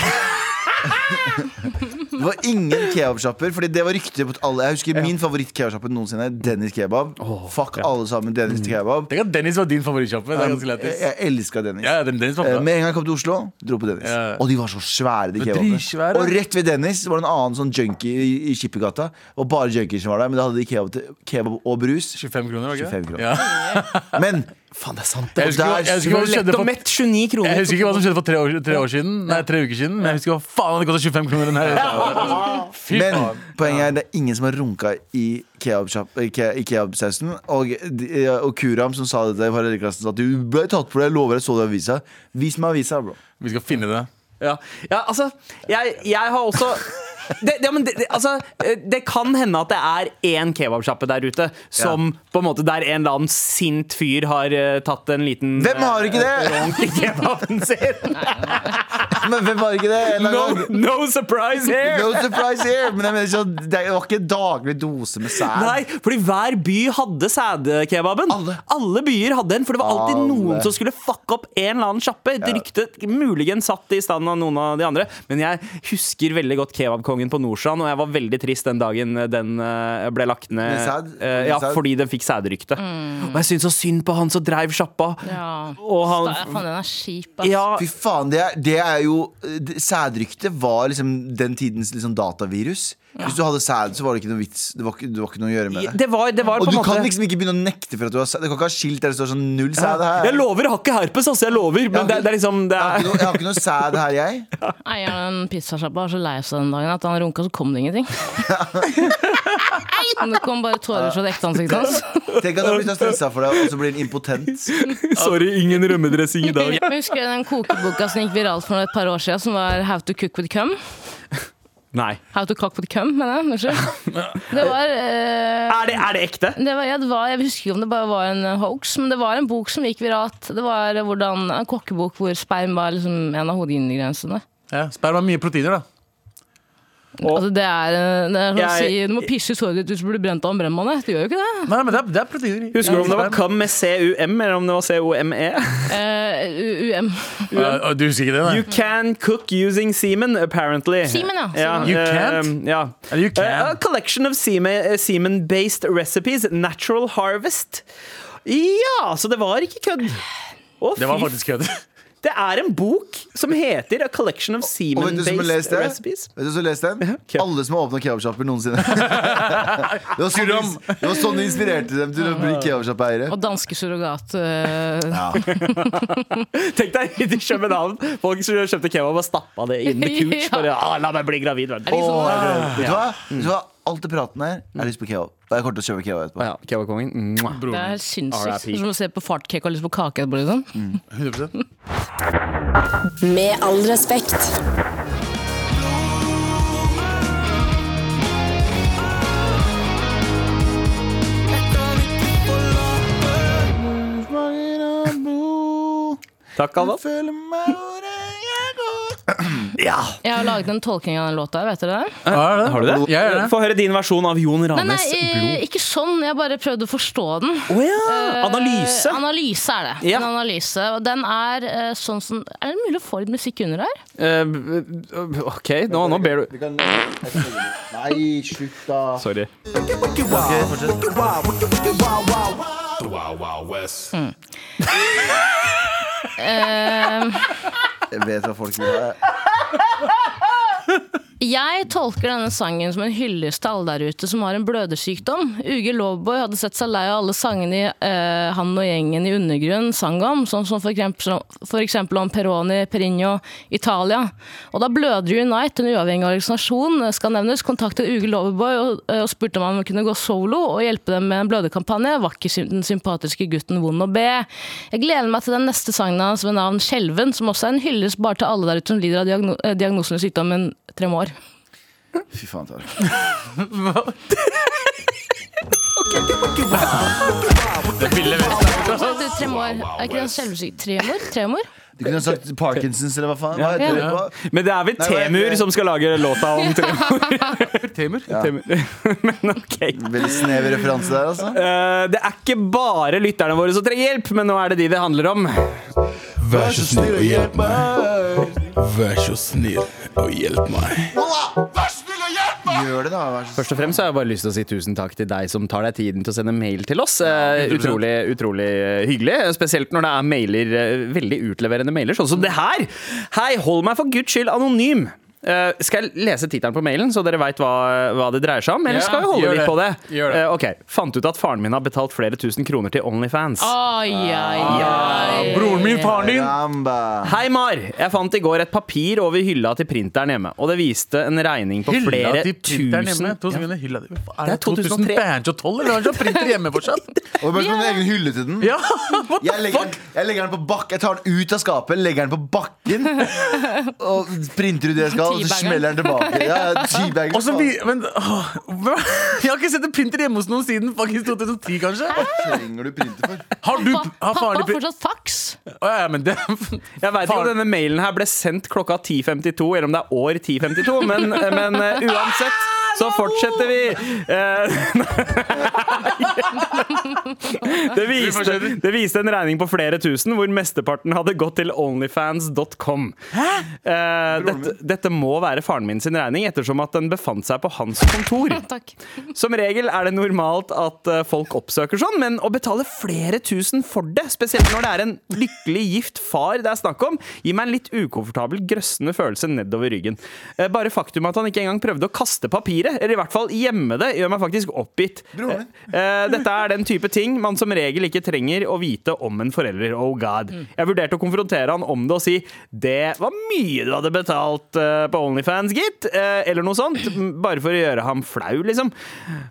Speaker 3: Det var ingen kebabsjapper, Fordi det var rykter på alle. Jeg husker min favoritt-kebabsjappe noensinne. Dennis kebab. Fuck alle sammen, Dennis kebab.
Speaker 4: Tenk at Dennis var din favorittsjappe. Det Mm. er ganske
Speaker 3: Jeg,
Speaker 2: Eh,
Speaker 4: lættis.
Speaker 3: jeg elska Dennis.
Speaker 4: Ja, ja, den- Dennis var
Speaker 3: Eh,
Speaker 4: bra.
Speaker 3: Med en gang jeg kom til Oslo, dro på Dennis.
Speaker 4: Ja.
Speaker 3: Og de var så svære, de
Speaker 4: var
Speaker 3: kebabene.
Speaker 4: dritsvære.
Speaker 3: Og rett ved Dennis var det en annen sånn junkie i, i Skippergata. Det var bare junkier som var der, men da hadde de kebab, til, kebab og brus.
Speaker 4: 25 kroner, var det ikke?
Speaker 3: 25 kroner.
Speaker 4: Ja.
Speaker 3: Men faen, det er sant.
Speaker 4: Jeg
Speaker 3: Det
Speaker 4: husker
Speaker 3: var
Speaker 4: hva- jeg
Speaker 3: der,
Speaker 4: husker hva som skjedde for,
Speaker 2: 29 kroner.
Speaker 4: jeg husker ikke hva som skjedde for tre år, tre år siden. Nei, tre uker siden. Men jeg husker hva faen det kosta 25 kroner den her. Fy
Speaker 3: men
Speaker 4: faen.
Speaker 3: poenget er det er ingen som har runka i kebabsjapp- i ke- i kebabsausen. Og, de- eh, og Kuram som sa dette i parallellklassen, sa at du ble tatt på det. Jeg lover, jeg så det i avisa. Vis meg avisa, bro.
Speaker 4: Vi skal finne det.
Speaker 2: Ja, ja altså jeg, jeg har også det, det, ja, men det, det, altså, eh, det kan hende at det er én kebabsjappe der ute som på en måte der en eller annen sint fyr har eh, tatt en liten
Speaker 3: Hvem har ikke det? [LAUGHS]
Speaker 2: ronk i kebaben sin.
Speaker 3: Men hvem har ikke det? En eller
Speaker 2: No,
Speaker 3: annen gang.
Speaker 2: no surprise here!
Speaker 3: No surprise here! Men jeg mener sånn, det var ikke daglig dose med sæd.
Speaker 2: Nei, fordi hver by hadde sædkebaben.
Speaker 3: Alle.
Speaker 2: byer hadde en, for det var alltid
Speaker 3: Alle.
Speaker 2: noen som skulle fucke opp en eller annen sjappe. Et rykte muligens satt i stand av noen av de andre. Men jeg husker veldig godt kebabkongen på Nordstrand, og jeg var veldig trist den dagen den eh, ble lagt ned.
Speaker 3: Med sæd?
Speaker 2: Eh, Ja,
Speaker 3: Med sæd?
Speaker 2: fordi den fikk sædrykte. Og jeg syntes så synd på han som dreiv sjappa.
Speaker 5: Ja.
Speaker 2: Og han
Speaker 5: Sta- Faen, den er kjip, ass.
Speaker 2: ja,
Speaker 3: Fy faen, det er, det er jo det- Sædrykte var liksom den tidens liksom datavirus. Hvis du hadde sæd, så var det ikke noe vits. Det var ikke, det var ikke noe å gjøre med det.
Speaker 2: det var, det var
Speaker 3: Og
Speaker 2: på
Speaker 3: du
Speaker 2: en måte
Speaker 3: kan liksom ikke begynne å nekte for at du har sæd. Du kan ikke ha skilt der det står sånn null sæd her.
Speaker 2: Jeg lover, jeg har ikke herpes, altså. Jeg lover. Men det, det er liksom det
Speaker 3: Jeg har
Speaker 2: er,
Speaker 3: ikke noe, jeg har ikke noe sæd her, jeg.
Speaker 5: Eieren av den pizzasjappa var så lei seg den dagen at han runka, så kom det ingenting.
Speaker 2: [LAUGHS]
Speaker 5: Ei, men Det kom bare tårer fra det ekte ansiktet hans.
Speaker 3: Tenk at han blir så stressa for deg, og så blir han impotent.
Speaker 2: [LAUGHS] Sorry, ingen rømmedressing [LAUGHS] i dag.
Speaker 5: Men husker jeg den kokeboka som gikk viralt for et par år siden, som var How to cook with cum?
Speaker 2: Nei.
Speaker 5: How to cock with cum, mener jeg. Unnskyld. Det var, eh,
Speaker 2: Er det, er det ekte?
Speaker 5: det var, ja, det var Jeg husker ikke om det bare var en hoax, men det var en bok som gikk viralt. Det var hvordan, en kokkebok hvor sperm var liksom en av hovedingrediensene.
Speaker 4: Ja, Spær meg mye proteiner, da.
Speaker 5: Altså, det er, eh, det er som å
Speaker 2: Jeg-
Speaker 5: si Du må pisse ut såret ditt hvis du blir brent av en brennmann. Det gjør jo ikke det.
Speaker 4: Nei, men det er, det er proteiner. i.
Speaker 2: Husker du om det var
Speaker 4: Sperm.
Speaker 2: CUM med CUM, eller om det var COME?
Speaker 5: Eh, U- UM.
Speaker 4: Ja, Du husker ikke det,
Speaker 2: You
Speaker 4: nei?
Speaker 2: can cook using semen, apparently.
Speaker 5: Semen, ja.
Speaker 2: ja
Speaker 5: Semen.
Speaker 4: You
Speaker 2: eh,
Speaker 4: can't?
Speaker 2: Ja.
Speaker 4: Eller you can.
Speaker 2: Eh, a collection of semen- eh, semen-based recipes. Natural harvest. Ja, så det var ikke kødd. Å,
Speaker 4: Det var
Speaker 2: fy
Speaker 4: faktisk kødd.
Speaker 2: Det er en bok som heter A Collection of
Speaker 3: Og vet du som har
Speaker 2: Semen-Based
Speaker 3: lest det?
Speaker 2: Recipes.
Speaker 3: Vet du som har lest den?
Speaker 2: ok.
Speaker 3: Alle som har åpna kebabsjapper
Speaker 2: [LAUGHS]
Speaker 3: noensinne. det, var sånn, de- det var sånn de inspirerte dem til å bli kebabsjappeiere.
Speaker 5: Og danske surrogat. eh,
Speaker 2: Tenk deg [LAUGHS] i København, folk som kjøpte kebab og stappa det
Speaker 5: [LAUGHS]
Speaker 2: inn med kurs.
Speaker 5: Ja.
Speaker 2: Bare, ah, 'La meg bli gravid', vet du.
Speaker 5: er liksom,
Speaker 3: Vet du hva? Vet du hva? Alt det praten her, jeg har lyst på kebab. Og jeg kommer til å kjøpe kebab etterpå.
Speaker 2: Ja, Kebabkongen. Mwah.
Speaker 5: det er helt sinnssykt.
Speaker 2: RIP.
Speaker 5: Det er Som å se på fartcake og lyst på kake etterpå. Liksom.
Speaker 4: 100%
Speaker 6: Med all respekt.
Speaker 2: Takk, Galvan.
Speaker 3: Følg meg hvor jeg går.
Speaker 5: Jeg har laget en tolkning av den låta. Vet dere det?
Speaker 4: Har
Speaker 2: du det?
Speaker 4: Ja, ja, ja.
Speaker 2: Få høre din versjon av Jon
Speaker 5: Nei, nei,
Speaker 2: Ranes
Speaker 5: eh,
Speaker 2: blod.
Speaker 5: ikke sånn. Jeg bare prøvde å forstå den.
Speaker 2: Å ja! Analyse.
Speaker 5: Eh, analyse er det.
Speaker 2: Ja.
Speaker 5: En analyse, og den er eh, sånn som Er det mulig å få litt musikk under her?
Speaker 2: Eh, b- OK, nå, nå ber du
Speaker 3: Vi kan- Nei, slutt, da.
Speaker 2: Sorry.
Speaker 8: Wow, wow, West.
Speaker 3: Jeg vet hva folk vil ha.
Speaker 5: Jeg tolker denne sangen som en hyllest til alle der ute som har en blødersykdom. UG Lowboy hadde sett seg lei av alle sangene eh, han og gjengen i undergrunnen sang om, sånn som for eksempel, for eksempel om Peroni, Perigno, Italia. Og da Bløder Unite, en uavhengig organisasjon, eh, skal nevnes, kontaktet UG Lowboy og, eh, og spurte om han kunne gå solo og hjelpe dem med en bløderkampanje. Var ikke sym- den sympatiske gutten vond å be? Jeg gleder meg til den neste sangen hans med navn Skjelven, som også er en hyllest bare til alle der ute som lider av diagno eh, diagnosen sykdommen tremor.
Speaker 3: Fy faen, Tara.
Speaker 4: Det ville vest.
Speaker 5: Altså, Tremor. Er ikke det selvsyk? Tremor? Tremor?
Speaker 3: Du kunne ha sagt Parkinsons, eller hva faen. Hva heter det? Hva?
Speaker 2: Men det er vel
Speaker 3: Nei, hva er
Speaker 2: Temur
Speaker 3: det?
Speaker 2: som skal lage låta
Speaker 5: [LAUGHS]
Speaker 2: om tre
Speaker 4: Tamer.
Speaker 2: Temur. [LAUGHS] Men OK.
Speaker 3: Veldig snever referanse der, altså.
Speaker 2: Eh, det er ikke bare lytterne våre som trenger hjelp, men nå er det de det handler om.
Speaker 4: Vær så snill og hjelp meg. Vær så snill og hjelp meg.
Speaker 3: Gjør det, da. Vær så
Speaker 2: Først og fremst så har jeg bare lyst til å si tusen takk til deg som tar deg tiden til å sende mail til oss. Eh,
Speaker 4: 100%.
Speaker 2: utrolig, utrolig eh, hyggelig. Spesielt når det er mailer, eh, veldig utleverende mailer, sånn som det her. Hei, hold meg for guds skyld anonym. Eh, skal jeg lese tittelen på mailen, så dere veit hva, hva det dreier seg om? Eller
Speaker 4: Ja,
Speaker 2: skal vi holde
Speaker 4: gjør
Speaker 2: litt
Speaker 4: det.
Speaker 2: på det?
Speaker 4: Gjør det.
Speaker 2: Eh, ok, Fant ut at faren min har betalt flere tusen kroner til Onlyfans.
Speaker 5: Ai, ai, ai.
Speaker 4: Broren min, faren din.
Speaker 3: Ramba.
Speaker 2: Hei, Mar! Jeg fant i går et papir over hylla til printeren hjemme, og det viste en regning på flere
Speaker 4: til
Speaker 2: tusen
Speaker 4: printeren hjemme. To sekunder, hylla di. Hva
Speaker 2: Det
Speaker 4: Er
Speaker 2: er
Speaker 4: det 2003?
Speaker 2: 2003.
Speaker 4: Banjo 12, eller har han ikke printer hjemme fortsatt?
Speaker 3: Og bare sånn egen hylle til den.
Speaker 4: Ja, [LAUGHS] what
Speaker 3: Jeg
Speaker 4: the
Speaker 3: legger,
Speaker 4: fuck?
Speaker 3: den, jeg legger den på bak Jeg tar den ut av skapet, legger den på bakken og printer ut det jeg skal, og så
Speaker 5: Teabagger.
Speaker 3: smeller den tilbake. Ja, ja, teabagger,
Speaker 4: Og så
Speaker 3: faen.
Speaker 4: vi, men, åh, hva? jeg har ikke sett en printer hjemme hos noen siden fucking 2010, kanskje.
Speaker 3: trenger du printer for?
Speaker 4: Har du
Speaker 5: Pa-
Speaker 4: har
Speaker 5: Pappa
Speaker 4: faren
Speaker 5: har
Speaker 4: din
Speaker 5: fortsatt fax.
Speaker 4: Å, ja, ja, men det
Speaker 2: Jeg vet jo
Speaker 4: Faren-
Speaker 2: denne mailen her ble sendt klokka 10.52, eller om det er år 10.52, men, men eh, uansett så fortsetter vi. Eh, [LAUGHS] nei. det, viste,
Speaker 4: fortsetter.
Speaker 2: det viste en regning på flere tusen, hvor mesteparten hadde gått til onlyfans.com. Eh, dette, dette må være faren min sin regning, ettersom at den befant seg på hans kontor.
Speaker 5: Takk.
Speaker 2: Som regel er det normalt at eh, folk oppsøker sånn, men å betale flere tusen for det, spesielt når det er en lykkelig gift far det er snakk om, gir meg en litt ukomfortabel, grøssende følelse nedover ryggen. Eh, Bare faktum at han ikke engang prøvde å kaste papiret, eller i hvert fall gjemme det, gjør meg faktisk oppgitt.
Speaker 3: Broren min.
Speaker 2: Eh, Dette er den type ting man som regel ikke trenger å vite om en forelder. Oh god. Jeg vurderte å konfrontere han om det og si det var mye du hadde betalt eh, på Onlyfans, gitt. eh, Eller noe sånt. m, Bare for å gjøre ham flau, liksom.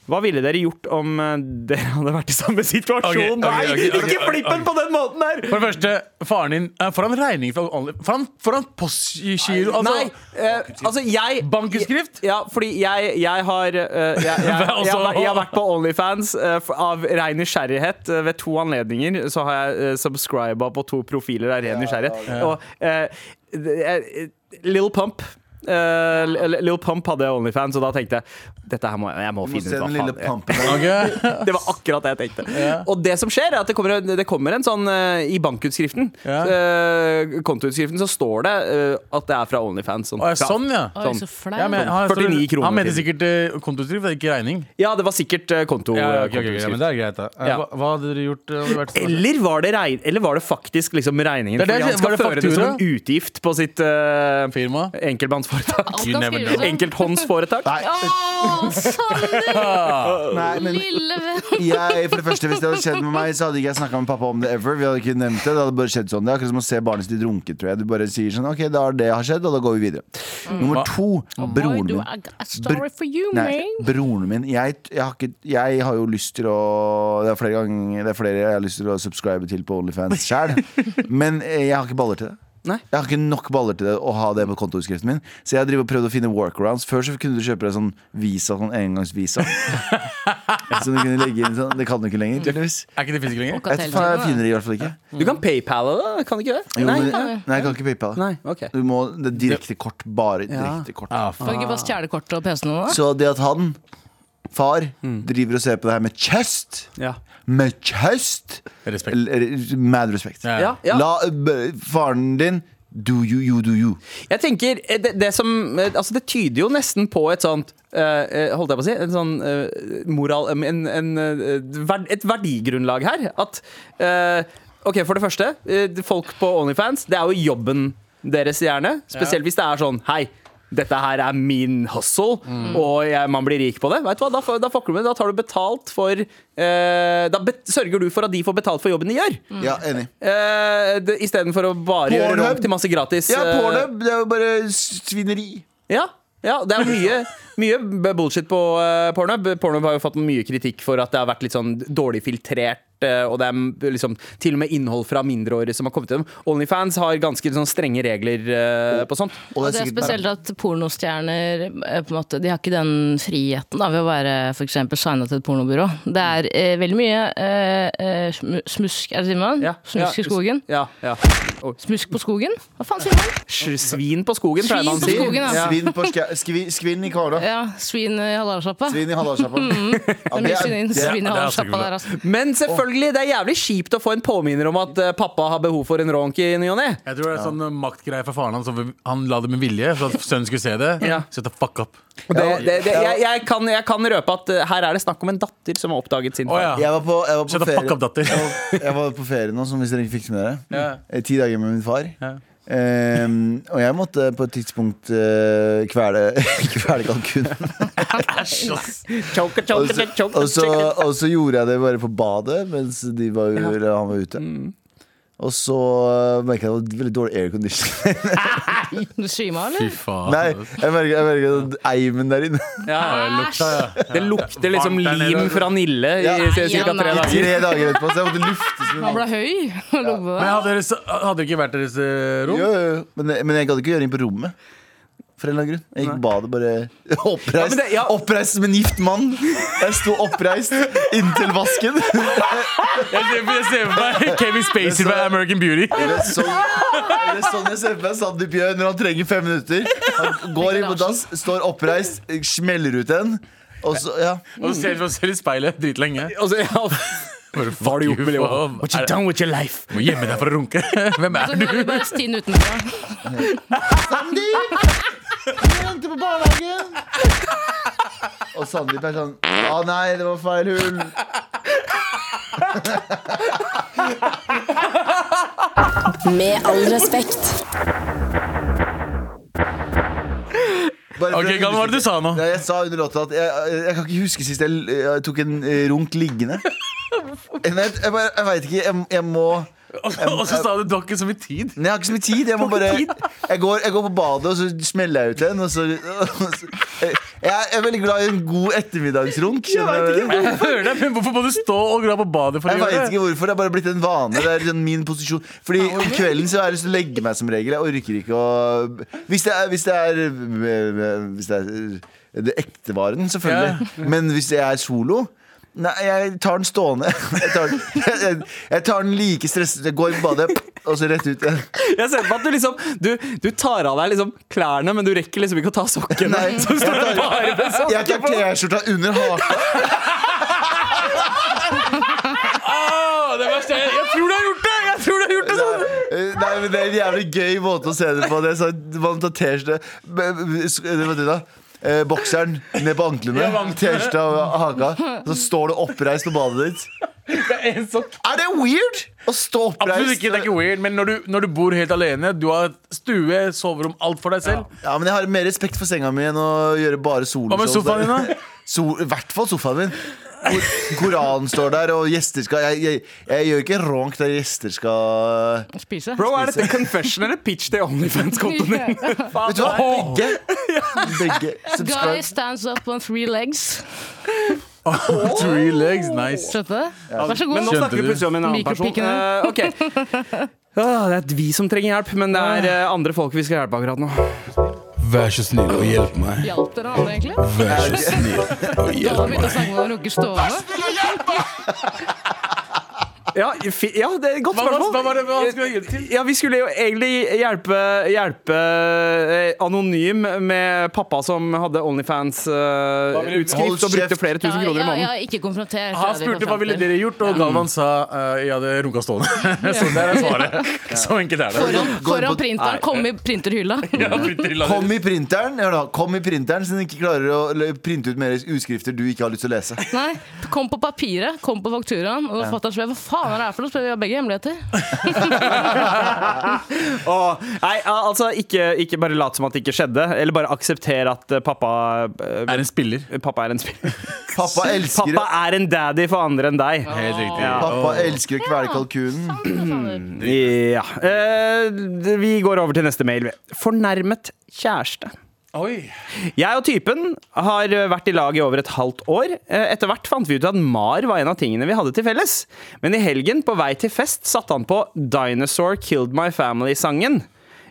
Speaker 2: Hva ville dere gjort om eh, dere hadde vært i samme situasjon?
Speaker 4: Ok, ok,
Speaker 2: Nei,
Speaker 4: ok, ok,
Speaker 2: ikke flipp den
Speaker 4: ok.
Speaker 2: på den måten der!
Speaker 4: For det første, faren din eh, Får han regning fra Only- Får han, får han postgiro? Altså,
Speaker 2: Nei, eh, altså jeg
Speaker 4: Bankutskrift?
Speaker 2: Ja, fordi jeg, jeg har eh, jeg, jeg, jeg,
Speaker 4: Hva, altså?
Speaker 2: har- jeg har vært på Onlyfans eh, f- av ren nysgjerrighet. Eh, ved to anledninger så har jeg uh, subscriba på to profiler av ren nysgjerrighet. Og eh, det er- eh, Lil Pump Eh, L- Lil Pump hadde Onlyfans, og da tenkte jeg dette her må jeg, jeg må
Speaker 3: Må
Speaker 2: finne ut
Speaker 3: se
Speaker 2: hva
Speaker 3: den
Speaker 2: faen
Speaker 3: lille
Speaker 2: jeg-
Speaker 3: pampen
Speaker 4: Ok?
Speaker 2: det var akkurat det jeg tenkte. Og det som skjer, er at det kommer, det kommer en sånn eh, I bankutskriften,
Speaker 4: Ja.
Speaker 2: eh, kontoutskriften, så står det eh, at det er fra Onlyfans. Sånn.
Speaker 4: Å, ja, sånn, ja.
Speaker 5: Oi,
Speaker 2: Sånn.
Speaker 5: så flau.
Speaker 4: Ja, men han,
Speaker 2: 49 kroner
Speaker 4: han mente
Speaker 2: til.
Speaker 4: sikkert uh, kontouttrykk, for det er ikke regning.
Speaker 2: Ja, det var sikkert eh, konto. kontoutskrift.
Speaker 4: det er greit, da. Eh,
Speaker 2: Ja.
Speaker 4: Hva, hva hadde dere gjort? eh, om det hadde vært sånn?
Speaker 2: eller var, det regn, eller var det faktisk liksom regningen?
Speaker 4: Det er det
Speaker 2: fordi han
Speaker 4: jeg-
Speaker 2: skal
Speaker 4: var det
Speaker 2: føre det som
Speaker 4: faktura?
Speaker 2: en utgift på sitt eh,
Speaker 4: Firma?
Speaker 2: enkeltmannsforetak.
Speaker 5: Alt kan
Speaker 4: never
Speaker 5: skrives om.
Speaker 2: Enkelthåndsforetak.
Speaker 3: Nei,
Speaker 5: Å,
Speaker 3: [LAUGHS]
Speaker 5: Sander!
Speaker 3: nei, men
Speaker 5: Lille venn.
Speaker 3: jeg, for det første, Hvis det hadde skjedd med meg, så hadde ikke jeg snakka med pappa om det ever. Vi hadde ikke nevnt Det det hadde bare skjedd sånn Det er akkurat som å se barnet sitt runke. tror jeg Du bare sier sånn OK, da har det har skjedd, og da går vi videre. Nummer to
Speaker 5: Boy,
Speaker 3: broren
Speaker 5: do
Speaker 3: min.
Speaker 5: I got a story for you,
Speaker 3: Nei,
Speaker 5: man.
Speaker 3: broren min jeg, jeg, har ikke, jeg har jo lyst til å Det er flere ganger Det er flere jeg har lyst til å subscribe til på Onlyfans sjæl. [LAUGHS] Men eh, jeg har ikke baller til det.
Speaker 2: Nei.
Speaker 3: Jeg har ikke nok baller til det å ha det på kontoutskriften min. Så jeg har drivet og prøvd å finne workarounds. Før så kunne du kjøpe deg sånn visa, sånn [LAUGHS] engangsvisa. Så du kunne legge inn sånn. Det kan du ikke lenger, tydeligvis.
Speaker 4: Er ikke det fisk lenger?
Speaker 3: Jeg vet faen, jeg finner det i hvert fall ikke.
Speaker 2: Du kan paypale det, kan du ikke det?
Speaker 3: Jo,
Speaker 2: Nei.
Speaker 3: men, nei, jeg kan ikke PayPal.
Speaker 2: Nei, ok.
Speaker 3: Du må, det er direkte kort. Bare direkte kort.
Speaker 4: Ah, faen.
Speaker 5: Kan du ikke bare stjele kortet og PC-en nå? da?
Speaker 3: Så det at han, far, driver og ser på det her med chest
Speaker 2: Ja.
Speaker 3: Med chest
Speaker 4: Respekt.
Speaker 3: L- r- Mad respekt.
Speaker 4: Ja.
Speaker 2: Ja, ja.
Speaker 3: La eh, b- faren din do you, you do you.
Speaker 2: Jeg tenker, eh, det, det som eh, Altså, det tyder jo nesten på et sånt eh, eh, holdt jeg på å si En sånn eh, moral em, en, en, eh, verd, Et verdigrunnlag her. At eh, OK, for det første. eh, folk på Onlyfans, det er jo jobben deres, gjerne. Spesielt hvis det er sånn Hei, dette her er min hustle,
Speaker 3: Mm.
Speaker 2: og jeg, man blir rik på det. Vet du hva, Da, f- da fucker du med det. Da tar du betalt for eh, Da bet, sørger du for at de får betalt for jobben de gjør.
Speaker 5: Mm.
Speaker 3: Ja, enig.
Speaker 2: Eh, det- Istedenfor å bare gjøre det
Speaker 3: Pornhub.
Speaker 2: om til masse gratis
Speaker 3: Ja,
Speaker 2: eh,
Speaker 3: pornhub. Det er jo bare svineri.
Speaker 2: ja, ja det er jo mye, mye b- bullshit på eh, Pornhub. Pornhub har jo fått mye kritikk for at det har vært litt sånn dårlig filtrert. eh, Og det er m- liksom til og med innhold fra mindreårige som har kommet til dem. Onlyfans har ganske sånn strenge regler eh, på sånt.
Speaker 3: Og
Speaker 5: Og det er
Speaker 3: sikkert-
Speaker 5: spesielt at pornostjerner eh, på en måte, de har ikke den friheten da, ved å være for eksempel signa til et pornobyrå. Det er eh, veldig mye eh, eh, smu- smusk Er det sier man?
Speaker 2: Ja,
Speaker 5: Smusk
Speaker 2: ja,
Speaker 5: i skogen?
Speaker 2: Ja, ja. Oi,
Speaker 5: Smusk på skogen? Hva faen sier man?
Speaker 2: sj- Svin på skogen, pleier
Speaker 5: Svin
Speaker 2: man å
Speaker 5: på
Speaker 2: si.
Speaker 5: skogen, ja.
Speaker 2: Ja.
Speaker 3: Svinn på ska- skvi- Skvinn i kvala.
Speaker 5: Ja, svin i halvdagsjappa.
Speaker 3: Svinn i Hallardsjappa. Ja,
Speaker 5: Det er mye svin-
Speaker 3: det er-
Speaker 5: svin i
Speaker 4: det er altså
Speaker 5: halvdagsjappa
Speaker 4: ikke
Speaker 5: der, altså.
Speaker 2: Men selvfølgelig, det er jævlig kjipt å få en påminner om at eh, pappa har behov for en ronk i ny og ne.
Speaker 4: Jeg tror det er sånn eh, maktgreie fra faren hans. så Han la det med vilje for at sønnen skulle se det.
Speaker 2: Ja.
Speaker 4: Så the fuck up.
Speaker 2: Det, det, det, jeg, jeg, kan, jeg kan røpe at eh, her er det snakk om en datter som har oppdaget sin
Speaker 4: Å
Speaker 2: far.
Speaker 4: ja.
Speaker 3: Jeg var på, jeg var på
Speaker 4: Shut the fuck up,
Speaker 3: ferie.
Speaker 4: datter.
Speaker 3: Jeg var på ferie nå, som hvis dere ikke fikk det med dere.
Speaker 4: Ja.
Speaker 3: Eh, Ti dager med min far.
Speaker 4: Ja.
Speaker 3: Ehm, og jeg måtte på et tidspunkt eh, kvele, [LAUGHS] kvele kalkunen.
Speaker 4: Æsj, ass.
Speaker 2: Choker,
Speaker 3: Og
Speaker 2: choker,
Speaker 3: så-
Speaker 2: choker,
Speaker 3: og så,
Speaker 2: choker.
Speaker 3: og så gjorde jeg det bare på badet mens de var, eller han var ute.
Speaker 2: Mm.
Speaker 3: Og så øh, merket jeg at det var veldig dårlig [LAUGHS] aircondition.
Speaker 5: Du svima,
Speaker 4: Fy
Speaker 5: eller?
Speaker 4: faen.
Speaker 3: Nei, jeg merket, jeg merket at eimen der inne
Speaker 2: Ja,
Speaker 4: Lukta, ja.
Speaker 2: det lukter liksom
Speaker 4: Varmt der nede.
Speaker 2: lim fra Nille i
Speaker 3: Ja.
Speaker 2: ca.
Speaker 5: Ja,
Speaker 2: tre
Speaker 5: nei.
Speaker 2: dager.
Speaker 3: [LAUGHS] Tre dager etterpå, så jeg måtte lufte som en
Speaker 5: Han ble
Speaker 3: mann.
Speaker 5: høy. og lå på
Speaker 4: Men
Speaker 5: deg.
Speaker 4: hadde dere, hadde dere ikke vært deres eh,
Speaker 3: Jo,
Speaker 4: rom?
Speaker 3: jo, jo. Men, men jeg gadd ikke gjøre inn på rommet. For en eller annen grunn. Jeg gikk i badet bare [LAUGHS] oppreist,
Speaker 2: men det- ja.
Speaker 3: oppreist som en gift mann. Jeg sto oppreist inntil vasken.
Speaker 4: Jeg ser jeg ser for meg Kevin Spacey
Speaker 3: Det er så-
Speaker 4: fra American Beauty.
Speaker 3: Det er sånn, det er sånn jeg ser for meg Sandeep gjør når han trenger fem minutter. Han går inn på dass, står oppreist, smeller ut en. Og så, ja.
Speaker 4: Og så ser du deg selv i speilet dritlenge.
Speaker 2: Og så- ja.
Speaker 4: Hva har du gjort med livet? What you done with your life? Må gjemme deg for å runke. [LAUGHS] Hvem
Speaker 5: Så
Speaker 4: er du?
Speaker 5: hører du bare stinn utenfra.
Speaker 3: Sandeep! Jeg venter på barnehagen! Og Sandeep er sånn Å nei, det var feil hull.
Speaker 6: Med all respekt.
Speaker 3: Bare for
Speaker 4: Ok,
Speaker 3: å
Speaker 4: Galvan, hva var det du sa nå?
Speaker 3: Ja, jeg sa under låta at jeg, jeg kan ikke huske sist jeg, jeg tok en eh, runk liggende. Jeg, vet- jeg, bare- jeg veit ikke. Jeg, jeg må
Speaker 4: Og så- og så sa du du har ikke så mye tid. [LAUGHS]
Speaker 3: Nei, jeg har ikke så mye tid. Jeg, må bare, jeg, går, jeg går på badet, og så smeller jeg ut en. Og så, og så, jeg, jeg er veldig glad i en god ettermiddagsrunk. skjønner du?
Speaker 4: Jeg hører deg, men hvorfor må du stå og dra på badet for å
Speaker 3: Jeg
Speaker 4: gjøre
Speaker 3: vet
Speaker 4: det?
Speaker 3: ikke hvorfor. Det er bare blitt en vane. Det er sånn min posisjon Fordi Om kvelden så har jeg lyst til å legge meg som regel. Jeg orker ikke å Hvis det er Hvis det er, eh, hvis det er det ekte varen, selvfølgelig. Men hvis jeg er solo Nei, jeg tar den stående. [LAUGHS] Jeg tar den, jeg, jeg tar den like stresset. Jeg går i badet, og så rett ut igjen.
Speaker 2: Jeg ser på at du liksom du, du tar av deg liksom klærne, men du rekker liksom ikke å ta sokkene. [LAUGHS]
Speaker 3: [LAUGHS] Nei,
Speaker 2: så
Speaker 3: jeg
Speaker 2: står du bare med sokker
Speaker 3: Jeg tar
Speaker 2: på.
Speaker 3: T-skjorta under
Speaker 4: [LAUGHS]
Speaker 3: haka.
Speaker 2: Å, det verste er- Jeg tror du har gjort det! Jeg tror du har gjort det sånn
Speaker 3: Nei, men Det er en jævlig gøy måte å se det på. Det er sånn, Man tar T-skjorte b- b- sk- Hva heter det da? Eh, bokseren ned på anklene, T-skjorta og haka. Så står du oppreist på badet ditt. Er det weird å stå
Speaker 4: Absolutt
Speaker 3: oppreist?
Speaker 4: ikke, det er ikke weird, men når du, når du bor helt alene, du har stue, soverom, alt for deg selv.
Speaker 3: Ja, men Jeg har mer respekt for senga mi enn å gjøre bare solo.
Speaker 4: Hva med sofaen din, da?
Speaker 3: Sol, I hvert fall sofaen min. Hvor Koranen står der, og gjester skal Jeg, jeg, jeg gjør ikke ronk der gjester skal
Speaker 5: Spise.
Speaker 2: Bro, er dette confession eller pitch til OnlyFans-kontoen
Speaker 5: [LAUGHS]
Speaker 2: din? Faen,
Speaker 3: Vet du hva? Begge. Begge.
Speaker 5: Guy
Speaker 3: Subscribe.
Speaker 5: stands up on three legs.
Speaker 4: Three legs, nice.
Speaker 5: Skjønte du? Vær så
Speaker 2: Men nå
Speaker 5: god.
Speaker 4: Skjønte
Speaker 2: snakker vi
Speaker 4: du.
Speaker 2: plutselig om en annen person.
Speaker 5: Mikropikkene.
Speaker 2: Eh, ok. Åh, det er vi som trenger hjelp, men det er eh, andre folk vi skal hjelpe akkurat nå.
Speaker 4: Vær så snill og hjelp meg.
Speaker 5: Hjalp dere andre, egentlig?
Speaker 4: Vær så snill og
Speaker 5: Da begynte å snakke om å runke stående.
Speaker 2: Ja, fi, ja det er et godt
Speaker 4: Hva var-
Speaker 2: spørsmål.
Speaker 4: hva var det- hva skulle jeg hjelpe til?
Speaker 2: Ja, Vi skulle jo egentlig hjelpe, hjelpe eh, Anonym med pappa som hadde
Speaker 3: Hold
Speaker 4: vil du-
Speaker 2: OnlyFans-utskrift og
Speaker 3: kjeft.
Speaker 2: brukte flere
Speaker 5: Ja,
Speaker 2: tusen kroner i
Speaker 5: ja, ja,
Speaker 2: måneden.
Speaker 5: ikke konfronter.
Speaker 4: Han spurte hva ville dere gjort, og Galvan sa eh, jeg hadde runka stående. [LAUGHS] så der er svaret. Så enkelt er det.
Speaker 5: Foran,
Speaker 3: Gå inn
Speaker 5: foran
Speaker 3: på-
Speaker 5: printeren. Kom i printerhylla.
Speaker 4: Ja, printer i landet.
Speaker 3: Kom i printeren, hør da, kom i printeren så den ikke klarer å l- printe ut mer utskrifter du ikke har lyst til å lese.
Speaker 5: Nei, Kom på papiret, kom på fakturaen. Og fatter'n spør hva faen er det her for noe. Spør vi har begge hemmeligheter. [LAUGHS]
Speaker 2: Åh, nei, al- altså, ikke, ikke bare lat som at det ikke skjedde, eller bare aksepter at eh, pappa eh,
Speaker 4: Er en spiller.
Speaker 2: Pappa er en spiller.
Speaker 3: Pappa elsker,
Speaker 2: Pappa er en daddy for andre enn deg.
Speaker 4: Helt riktig.
Speaker 3: pappa elsker å kvele kalkunen.
Speaker 2: Ja. Eh, vi går over til neste mail. vi. Fornærmet kjæreste.
Speaker 4: Oi.
Speaker 2: Jeg og typen har vært i lag i over et halvt år. Eh, Etter hvert fant vi ut at Mar var en av tingene vi hadde til felles. Men i helgen, på vei til fest, satte han på Dinosaur Killed My Family-sangen.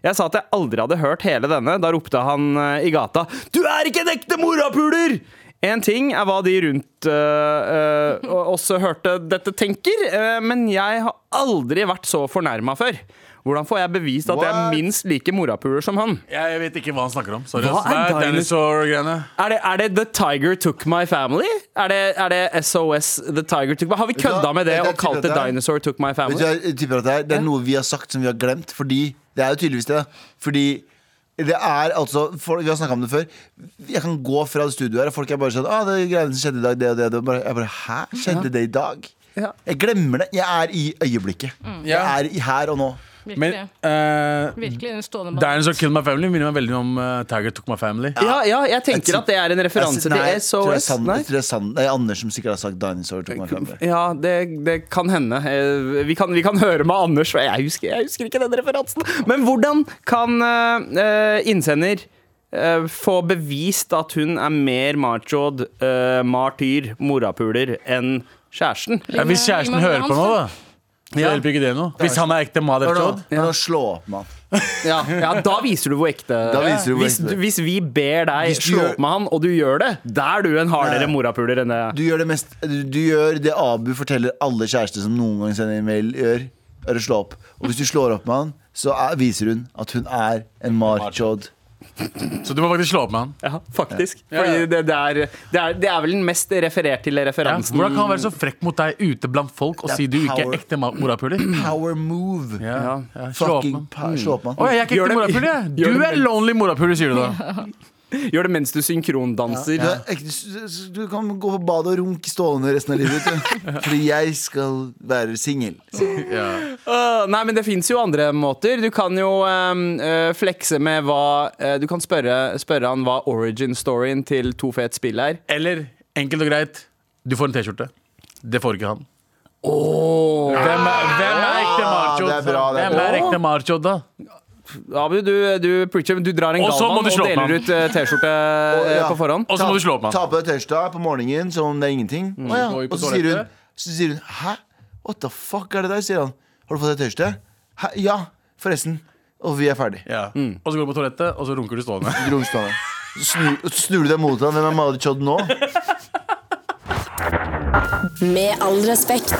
Speaker 2: Jeg sa at jeg aldri hadde hørt hele denne. Da ropte han eh, i gata Du er ikke en ekte morapuler! En ting er hva de rundt øh, øh, oss hørte dette tenker, øh, men jeg har aldri vært så fornærma før. Hvordan får jeg bevist at jeg
Speaker 3: What?
Speaker 2: er minst like morapuler som han?
Speaker 4: Jeg vet ikke hva han snakker om. Sorry.
Speaker 2: Hva
Speaker 4: ass. Hva
Speaker 2: er
Speaker 4: er dinosaur-greiene?
Speaker 2: Er det, er det The Tiger Took My Family? Er det, er det SOS The Tiger Took My Har vi
Speaker 3: du hva?
Speaker 2: kødda med det
Speaker 3: Jeg- jeg
Speaker 2: og kalt det
Speaker 3: tipper at det er-
Speaker 2: Dinosaur Took My
Speaker 3: Vet du, hva
Speaker 2: Family?
Speaker 3: jeg tipper at det, er, det er noe vi har sagt som vi har glemt. Fordi Det er jo tydeligvis det. da. Fordi det er altså folk, Vi har snakka om det før. Jeg kan gå fra studio her, og folk er bare sånn ah, 'Det er greiene som skjedde i dag, det og det.' Og det. Bare, jeg bare 'Hæ? Skjedde det i dag?'
Speaker 2: Ja.
Speaker 3: Jeg glemmer det. Jeg er i øyeblikket.
Speaker 4: Ja.
Speaker 3: Jeg er i her og nå.
Speaker 5: Virkelig.
Speaker 4: Men eh,
Speaker 5: Virkelig en stående mann.
Speaker 4: Dinosaur Killed My Family minner meg veldig om eh, Tiger Took My Family.
Speaker 2: Ja, ja, jeg tenker at det er en referanse
Speaker 3: Jeg- nei,
Speaker 2: til
Speaker 3: tror jeg
Speaker 2: SOS.
Speaker 3: Sand-
Speaker 2: Nei.
Speaker 3: tror jeg Sand- Det er Anders som sikkert har sagt 'Dinosaur'. Tok meg frem.
Speaker 2: Ja, det, det kan hende. Eh, Vi kan, vi kan høre med Anders, for jeg husker, jeg husker ikke den referansen. Men hvordan kan eh, eh, innsender eh, få bevist at hun er mer machod, eh, martyr, morapuler enn kjæresten?
Speaker 4: Ja, hvis kjæresten
Speaker 5: Gi meg- gi meg
Speaker 4: hører på nå, da,
Speaker 5: hans,
Speaker 4: så hjelper ikke det noe. Hvis han er ekte
Speaker 3: Hør nå,
Speaker 4: Maderchod
Speaker 3: hør nå, slå opp, mann.
Speaker 2: Ja, ja, da viser du hvor ekte
Speaker 3: Da viser du hvor
Speaker 2: hvis,
Speaker 3: ekte.
Speaker 2: hvis vi ber deg
Speaker 3: Hvis du
Speaker 2: slå
Speaker 3: gjør-
Speaker 2: opp med han, og du gjør det, da er du en hardere
Speaker 3: Nei.
Speaker 2: morapuler enn det.
Speaker 3: Du gjør det mest Du, du gjør det Abu forteller alle kjærester som noen gang sender en mail, gjør. Er å slå opp. Og hvis du slår opp med han, så er, viser hun at hun er en marchod.
Speaker 4: Så du må faktisk slå opp med han.
Speaker 2: Ja, faktisk.
Speaker 4: Ja, ja.
Speaker 2: Fordi det, det, er, det, er, det er vel den mest referert til
Speaker 4: Ja.
Speaker 2: referansen.
Speaker 4: Hvordan kan han være så frekk mot deg ute blant folk og
Speaker 3: Det er
Speaker 4: si du ikke
Speaker 3: power.
Speaker 4: er ekte ma- morapuler?
Speaker 3: Power move.
Speaker 4: Ja. Ja. Slå opp
Speaker 3: Fucking
Speaker 4: med han.
Speaker 3: pa slå opp med han.
Speaker 4: Å, jeg er ikke
Speaker 2: Gjør det-
Speaker 4: ekte morapuler, jeg.
Speaker 2: gjør
Speaker 4: Du
Speaker 2: det
Speaker 4: er
Speaker 2: med-
Speaker 4: lonely morapuler, sier du da.
Speaker 2: Gjør det mens du synkrondanser.
Speaker 3: Altså, Du, er ekte, du kan gå på badet og runke stående resten av livet. Du. [LAUGHS] Fordi jeg skal være singel.
Speaker 2: Øh, nei, men det fins jo andre måter. Du kan jo ehm, øh, flekse med hva eh, Du kan spørre, spørre han hva origin storyen til To fet spill er.
Speaker 4: Eller enkelt og greit, du får en T-skjorte. Det får ikke han. Hvem, er, hvem er ekte Marchod?
Speaker 3: Ah, det er bra, det er
Speaker 4: Hvem er
Speaker 2: bra.
Speaker 4: ekte Marchod, da?
Speaker 2: Abu, du, du preacher, men du drar en
Speaker 4: Og så må
Speaker 2: galvan
Speaker 4: du
Speaker 2: og
Speaker 4: slå opp
Speaker 2: deler
Speaker 4: han.
Speaker 2: ut eh, T-skjorte
Speaker 3: [LAUGHS]
Speaker 2: eh,
Speaker 3: ja.
Speaker 2: på forhånd.
Speaker 4: Og så må du slå opp med
Speaker 3: Ta
Speaker 4: han.
Speaker 3: på deg tørsta på morgenen som om det er ingenting. Å, ja.
Speaker 4: går Mm, vi på
Speaker 3: Og så sier,
Speaker 4: toalettet.
Speaker 3: hun, så sier hun 'hæ? What the fuck er det der?' sier han. 'Har du fått deg tørste?' Hæ? Ja, forresten. Og vi er ferdig.
Speaker 4: Ja.
Speaker 3: Mm.
Speaker 4: Og så går du på toalettet, og så runker du stående.
Speaker 3: Gromsdalen. Så snur, så snur du deg mot han Hvem er Marit Chodd nå?
Speaker 6: Med all respekt.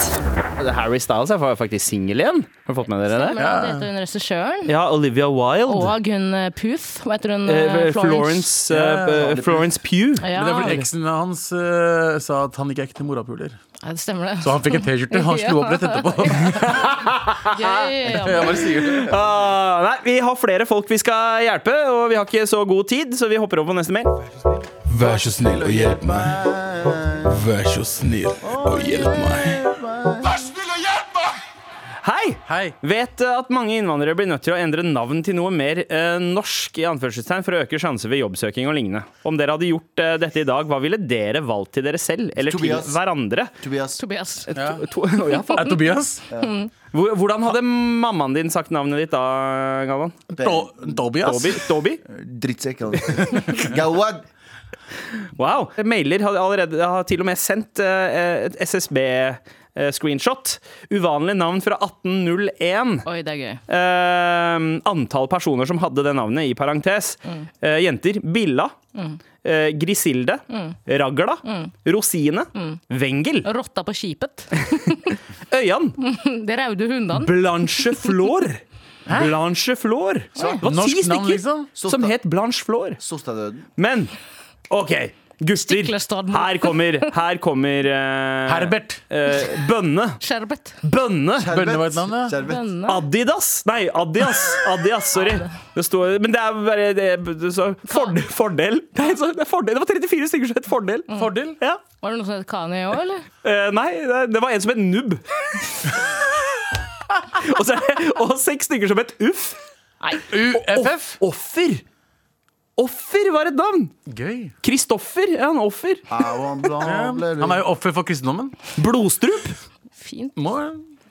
Speaker 2: Harry Styles er faktisk singel igjen. Har du fått med dere det?
Speaker 5: Men det heter hun regissøren.
Speaker 2: Ja, Olivia Wilde.
Speaker 5: Og hun eh, Puth. Hva heter hun?
Speaker 2: Eh,
Speaker 5: eh,
Speaker 2: Florence, eh, eh, Florence Pugh.
Speaker 5: Ja,
Speaker 4: Men det er fordi eksen hans eh, sa at han ikke er ekte morapuler.
Speaker 5: ja, det stemmer det.
Speaker 4: Så han fikk en T-skjorte. Han slo opp
Speaker 2: [LAUGHS]
Speaker 4: rett etterpå.
Speaker 5: Gøy, ja.
Speaker 4: Jeg bare sier det.
Speaker 2: Ah, nei, vi har flere folk vi skal hjelpe, og vi har ikke så god tid, så vi hopper over på neste mail.
Speaker 8: Vær så snill og hjelp meg. Vær så snill og hjelp meg. Vær så snill og hjelp meg!
Speaker 2: Hei!
Speaker 4: Hei.
Speaker 2: Vet eh, at mange innvandrere blir nødt til å endre navn til noe mer eh, norsk i anførselstegn for å øke sjanse ved jobbsøking og lignende. Om dere hadde gjort eh, dette i dag, hva ville dere valgt til dere selv eller
Speaker 3: Tobias.
Speaker 2: til hverandre?
Speaker 3: Tobias.
Speaker 5: Tobias.
Speaker 2: To, [LAUGHS] Å, ja, faen.
Speaker 4: Er Tobias?
Speaker 2: Hvor- Hvordan hadde mammaen din sagt navnet ditt da, Galvan?
Speaker 4: Do- Tobias?
Speaker 2: Dobby? Dobby?
Speaker 3: Drittsekk. altså. [LAUGHS] Gawad.
Speaker 2: Wow. Mailer har allerede har til og med sendt eh, et SSB-screenshot. eh, Uvanlig navn fra 1801.
Speaker 5: Oi, det er gøy.
Speaker 2: Eh, antall personer som hadde det navnet, i parentes.
Speaker 4: Mm.
Speaker 2: Eh, jenter Billa. eh, Grisilde.
Speaker 4: Mm.
Speaker 2: Ragla. Rosine. Wengel.
Speaker 5: Rotta på skipet. [LAUGHS]
Speaker 4: Mm.
Speaker 2: Øyan.
Speaker 5: De raude hundene.
Speaker 2: Blanche Flor.
Speaker 4: [LAUGHS]
Speaker 2: Blanche Flor. Det var ti
Speaker 4: Norsk navn,
Speaker 2: stykker
Speaker 4: liksom?
Speaker 2: som het Blanche Flor.
Speaker 3: Sostadøden.
Speaker 2: Men OK, gutter.
Speaker 5: Stiklestad.
Speaker 2: Her kommer, her kommer eh,
Speaker 4: Herbert.
Speaker 2: eh, Bønne.
Speaker 5: Sherbet.
Speaker 2: Bønne.
Speaker 4: Bønne var et navn, ja.
Speaker 3: Skjervet.
Speaker 5: Bønne.
Speaker 2: Adidas? Nei, Adias. Adias, sorry. Det står, men det er bare det, det, så, fordel, fordel. Det, er, så, det, er fordel. det var 34 stykker som het fordel.
Speaker 5: Mm.
Speaker 2: Fordel? Ja.
Speaker 5: Var det noe som het Kani òg, eller?
Speaker 2: Eh, nei, det, det var en som het nubb. [LAUGHS] og, så er det, og seks stykker som het uff.
Speaker 4: UFF.
Speaker 2: Offer! Offer var et navn!
Speaker 4: Gøy.
Speaker 2: Kristoffer er han offer.
Speaker 4: Han er jo offer for kristendommen.
Speaker 2: Blodstrup.
Speaker 5: Fint.
Speaker 4: Må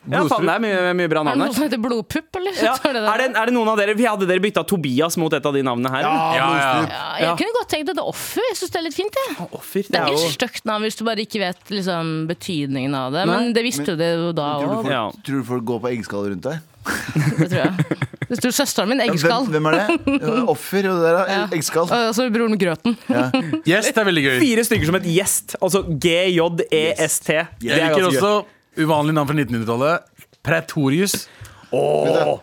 Speaker 2: Ja, faen, det
Speaker 4: Blodstrup.
Speaker 2: er mye, mye bra
Speaker 5: Er det
Speaker 2: navn
Speaker 5: noe
Speaker 2: her.
Speaker 5: som heter blodpupp, eller? [LAUGHS]
Speaker 2: Ja,
Speaker 5: Står det der?
Speaker 2: er, det, er det noen av dere Vi hadde dere bytta Tobias mot et av de navnene her? eller?
Speaker 4: Ja, ja.
Speaker 5: Ja,
Speaker 2: Ja.
Speaker 5: jeg kunne godt tenkt at det er offer. Jeg synes det er litt fint. Jeg.
Speaker 2: Offer,
Speaker 5: Det er ikke et stygt navn hvis du bare ikke vet liksom, betydningen av det. Men det visste jo det jo da
Speaker 3: Tror du
Speaker 5: òg,
Speaker 3: folk-
Speaker 2: Ja.
Speaker 3: Tror du folk går på eggskall rundt deg?
Speaker 5: det tror jeg. Det sto søsteren min, eggskall.
Speaker 3: Hvem, hvem
Speaker 4: [LAUGHS]
Speaker 3: er det? Offer og det der? da. Eggskall.
Speaker 5: Og så broren Grøten.
Speaker 4: Yes, det er veldig gøy.
Speaker 2: fire stykker som et gjest. Altså G-J-E-S-T. Det
Speaker 4: Jeg
Speaker 2: er
Speaker 4: liker
Speaker 2: ganske gøy.
Speaker 4: også uvanlig navn fra 1900-tallet. Pretorius.
Speaker 5: Bror.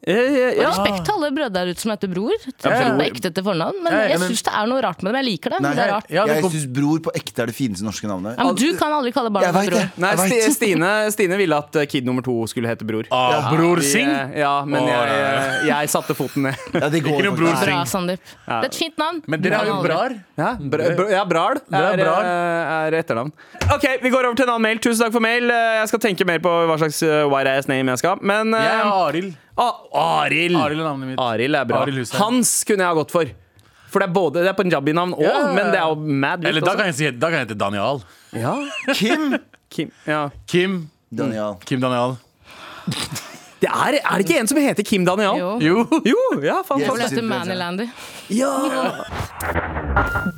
Speaker 2: Eh, eh, ja.
Speaker 5: Respekt til alle brødre der ute som heter Bror. Tror jeg på ekte til fornavn. Men
Speaker 4: Ja, ja,
Speaker 5: jeg
Speaker 4: men-
Speaker 5: syns det er noe rart med det. Men jeg liker det. Men det er rart.
Speaker 4: Ja, altså- det
Speaker 3: jeg
Speaker 4: kom-
Speaker 3: syns bror på ekte er det fineste norske navnet.
Speaker 5: Ja, men du kan aldri kalle
Speaker 3: Jeg
Speaker 5: barna
Speaker 3: veit
Speaker 5: for
Speaker 3: det.
Speaker 5: Bror.
Speaker 2: Nei,
Speaker 3: Jeg
Speaker 2: Sti-
Speaker 3: vet.
Speaker 2: Stine, Stine ville at eh, Kid nummer to skulle hete Bror.
Speaker 4: Ah, Bror
Speaker 2: Vi,
Speaker 4: Singh.
Speaker 2: eh, Ja, men
Speaker 4: Å,
Speaker 2: jeg,
Speaker 4: nei,
Speaker 2: eh, jeg satte foten
Speaker 4: [LAUGHS]
Speaker 2: ned.
Speaker 3: Ja, det går
Speaker 4: Ikke
Speaker 3: faktisk.
Speaker 4: noe bror.
Speaker 5: Bra, Sandeep. Det er et fint navn.
Speaker 4: Men dere er jo brar.
Speaker 2: Ja, br br ja Bral Eh, er,
Speaker 4: Det er Bral.
Speaker 2: eh, er etternavn. OK, vi går over til en annen mail. Tusen takk for mail. Eh, Jeg skal tenke mer på hva slags eh, white ass name jeg skal ha. Men eh,
Speaker 4: Jeg er Arild.
Speaker 2: ah, Arild.
Speaker 4: Arild er navnet mitt.
Speaker 2: Arild er bra.
Speaker 4: Arild Hussein.
Speaker 2: Hans kunne jeg ha gått for. For det er både det er punjabi-navn òg,
Speaker 4: Ja.
Speaker 2: men det er jo mad. vilt
Speaker 4: Eller da
Speaker 2: også.
Speaker 4: kan jeg si da kan jeg hete Daniel.
Speaker 2: Ja.
Speaker 3: Kim!
Speaker 2: [LAUGHS] Kim, ja.
Speaker 4: Kim.
Speaker 3: Daniel.
Speaker 4: Kim Daniel.
Speaker 2: Det er, er det ikke en som heter Kim Daniel?
Speaker 5: Jo.
Speaker 4: Jo.
Speaker 2: Jo, ja, faen.
Speaker 5: Hun
Speaker 3: Yes.
Speaker 2: faen.
Speaker 5: heter Manilandy.
Speaker 2: Ja.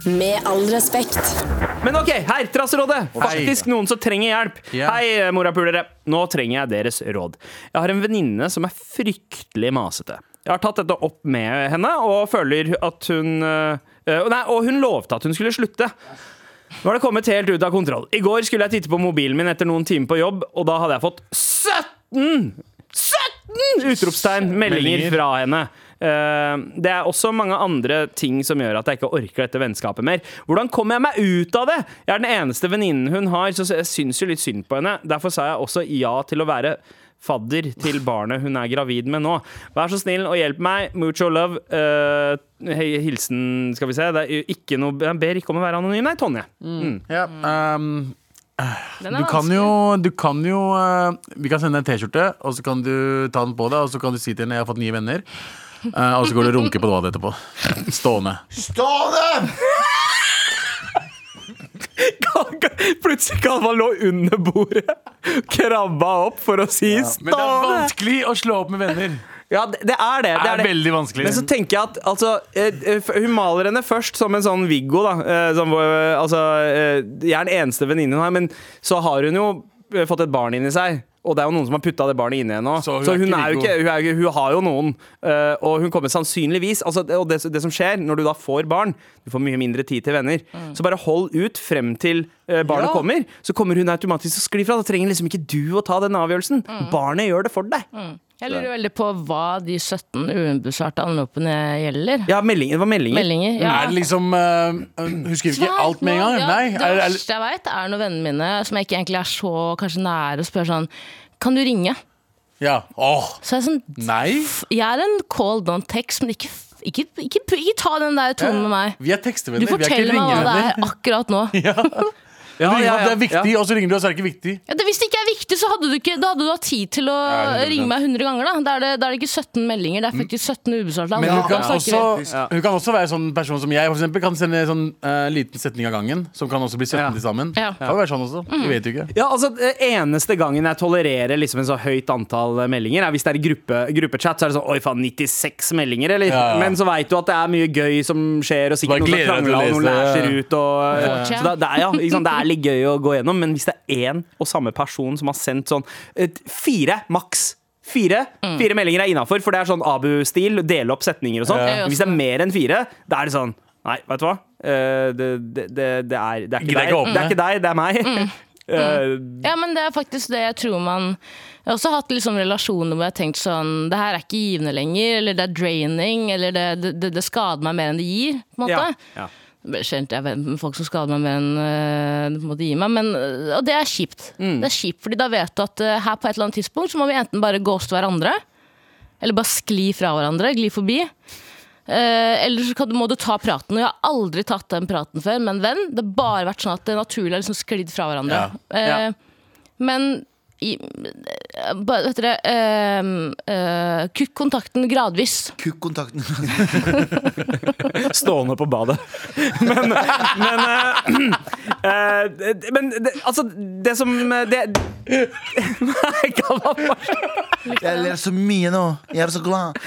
Speaker 6: Med all respekt.
Speaker 2: Men OK, her, Trasserådet. Faktisk noen som trenger hjelp.
Speaker 4: Ja.
Speaker 2: Hei, morapulere. Nå trenger jeg deres råd. Jeg har en venninne som er fryktelig masete. Jeg har tatt dette opp med henne og føler at hun øh, øh, Nei, og hun lovte at hun skulle slutte. Nå har det kommet helt ut av kontroll. I går skulle jeg titte på mobilen min etter noen timer på jobb, og da hadde jeg fått 17 17 utropstegn meldinger
Speaker 4: Meldinger.
Speaker 2: fra henne. Eh, Det er også mange andre ting som gjør at jeg ikke orker dette vennskapet mer. Hvordan kommer jeg meg ut av det? Jeg er den eneste venninnen hun har, så jeg syns jo litt synd på henne. Derfor sa jeg også ja til å være fadder til barnet hun er gravid med nå. Vær så snill og hjelp meg. Mucho love. Eh, hei, hilsen Skal vi se. Det er ikke noe, jeg ber ikke om å være anonym. Nei, Tonje.
Speaker 4: Ja, ehm,
Speaker 5: Den
Speaker 4: du
Speaker 5: er
Speaker 4: kan
Speaker 5: vanskelig.
Speaker 4: jo, du kan jo eh, Vi kan sende deg en T-skjorte, og så kan du ta den på deg, og så kan du si til henne 'jeg har fått nye venner'. Eh, og så går du og runker på badet etterpå. Stående.
Speaker 3: Stående!
Speaker 2: [LAUGHS] Plutselig kan man lå under bordet, krabba opp for å si
Speaker 4: Men det er
Speaker 2: stående.
Speaker 4: vanskelig å slå opp med venner.
Speaker 2: Ja, det, det er det.
Speaker 4: Det
Speaker 2: det,
Speaker 4: er
Speaker 2: er det.
Speaker 4: veldig vanskelig.
Speaker 2: Men så tenker jeg at altså, eh, eh, hun maler henne først som en sånn Viggo, da. eh, Som, eh, altså, eh, jeg er den eneste venninnen hun har, men så har hun jo eh, fått et barn inni seg. Og det er jo noen som har putta det barnet inni henne nå. Så
Speaker 4: Så
Speaker 2: hun,
Speaker 4: hun er ikke
Speaker 2: er jo ikke,
Speaker 4: Viggo.
Speaker 2: hun, er, jo ikke- hun har jo noen. eh, og hun kommer sannsynligvis altså, det, Og det, det som skjer når du da får barn, du får mye mindre tid til venner, så bare hold ut frem til eh, barnet
Speaker 4: Mm. Ja.
Speaker 2: kommer. Så kommer hun automatisk og sklir fra. Da trenger liksom ikke du å ta den avgjørelsen.
Speaker 4: Mm.
Speaker 2: Barnet gjør det for deg.
Speaker 5: Jeg lurer veldig på hva de 17 ubesvarte anropene gjelder.
Speaker 2: Ja, melding, det var meldinger.
Speaker 5: Meldinger. Ja.
Speaker 4: Er det liksom eh, Hun skriver ikke alt med en gang?
Speaker 5: Ja,
Speaker 4: Nei.
Speaker 5: det
Speaker 4: Er, er,
Speaker 5: verste jeg veit, er når vennene mine, som jeg ikke egentlig er så kanskje nære, spør sånn Kan du ringe?
Speaker 4: ja. Åh,
Speaker 5: Så er jeg sånn
Speaker 4: nei.
Speaker 5: Jeg er en call don't text, men ikke, ikke, ikke, ikke ta den der tonen med meg.
Speaker 4: Vi er
Speaker 5: Du
Speaker 4: tekstevenner. Vi er ikke
Speaker 5: forteller meg hva det
Speaker 4: ringevenner.
Speaker 5: er
Speaker 4: [LAUGHS]
Speaker 5: akkurat nå.
Speaker 4: Du ringer
Speaker 2: ja,
Speaker 4: at det er
Speaker 2: ja, ja.
Speaker 4: viktig, og så ringer du, og så er det ikke viktig.
Speaker 5: Ja, det, hvis det ikke er viktig, så hadde du, ikke, da hadde du hatt tid til å
Speaker 4: Ja, 100%.
Speaker 5: ringe meg 100 ganger. Da Da er det, da er det ikke 17 meldinger, det er faktisk 17 ubesvarte.
Speaker 4: Men hun
Speaker 5: anrop.
Speaker 4: kan,
Speaker 5: Da snakker vi.
Speaker 4: også, hun kan også være sånn person som jeg, for eksempel, kan sende en sånn eh, liten setning av gangen. Som kan også bli 17
Speaker 2: Ja.
Speaker 4: til sammen.
Speaker 5: Ja. Mm.
Speaker 4: Kan jo være sånn også. Vi vet jo ikke.
Speaker 2: Ja, altså det Eneste gangen jeg tolererer liksom en så høyt antall eh, meldinger, er hvis det er i gruppe, gruppechat. Så er det sånn Oi faen, 96 meldinger, eller?
Speaker 4: Ja, ja.
Speaker 2: Men så veit du at det er mye gøy som skjer, og sikkert noen som
Speaker 4: Bare gleder deg til
Speaker 2: krangler,
Speaker 4: å
Speaker 2: og noen
Speaker 4: lese.
Speaker 2: lærer ut, og eh,
Speaker 5: Ja.
Speaker 2: Så da, det, er, ja, ikke sant, det er litt gøy å gå gjennom, men hvis det er én og samme person som har sendt sånn et, fire maks Fire,
Speaker 5: Mm.
Speaker 2: fire meldinger er innafor, for det er sånn Abu-stil. Dele opp setninger og sånn.
Speaker 5: Ja.
Speaker 2: Hvis det er mer enn fire, da er det sånn Nei, vet du hva? Eh, Det, det, det, det, er, det er
Speaker 4: Gidder
Speaker 2: ikke
Speaker 4: ikke
Speaker 2: deg,
Speaker 4: å åpne.
Speaker 2: det er, ikke deg, det er meg.
Speaker 5: Mm.
Speaker 2: [LAUGHS] Eh,
Speaker 5: Ja, men det er faktisk det jeg tror man Jeg har også hatt liksom relasjoner hvor jeg har tenkt sånn Det her er ikke givende lenger, eller det er draining, eller det, det- det, det skader meg mer enn det gir. på en måte.
Speaker 2: Ja.
Speaker 5: Sjelden jeg vet om folk som skader meg mer enn øh, det på en måte gir meg, men, øh, og det er kjipt. Det er kjipt, fordi da vet du at øh, her på et eller annet tidspunkt så må vi enten bare ghoste hverandre, eller bare skli fra hverandre, gli forbi. Eh, eller så kan du, må du ta praten. Og jeg har aldri tatt den praten før, men venn, det har bare vært sånn at det naturlig har liksom sklidd fra hverandre. Eh, Men i, eh, bare, vet dere eh, eh, Kutt kontakten gradvis.
Speaker 3: Kukk-kontakten.
Speaker 2: Stående på badet. [LAUGHS] Men, men, eh, [CLEARS THROAT] eh, det- men det, altså, det som eh, det, Nei, hva var det?
Speaker 3: Jeg ler så mye nå. Jeg er så glad.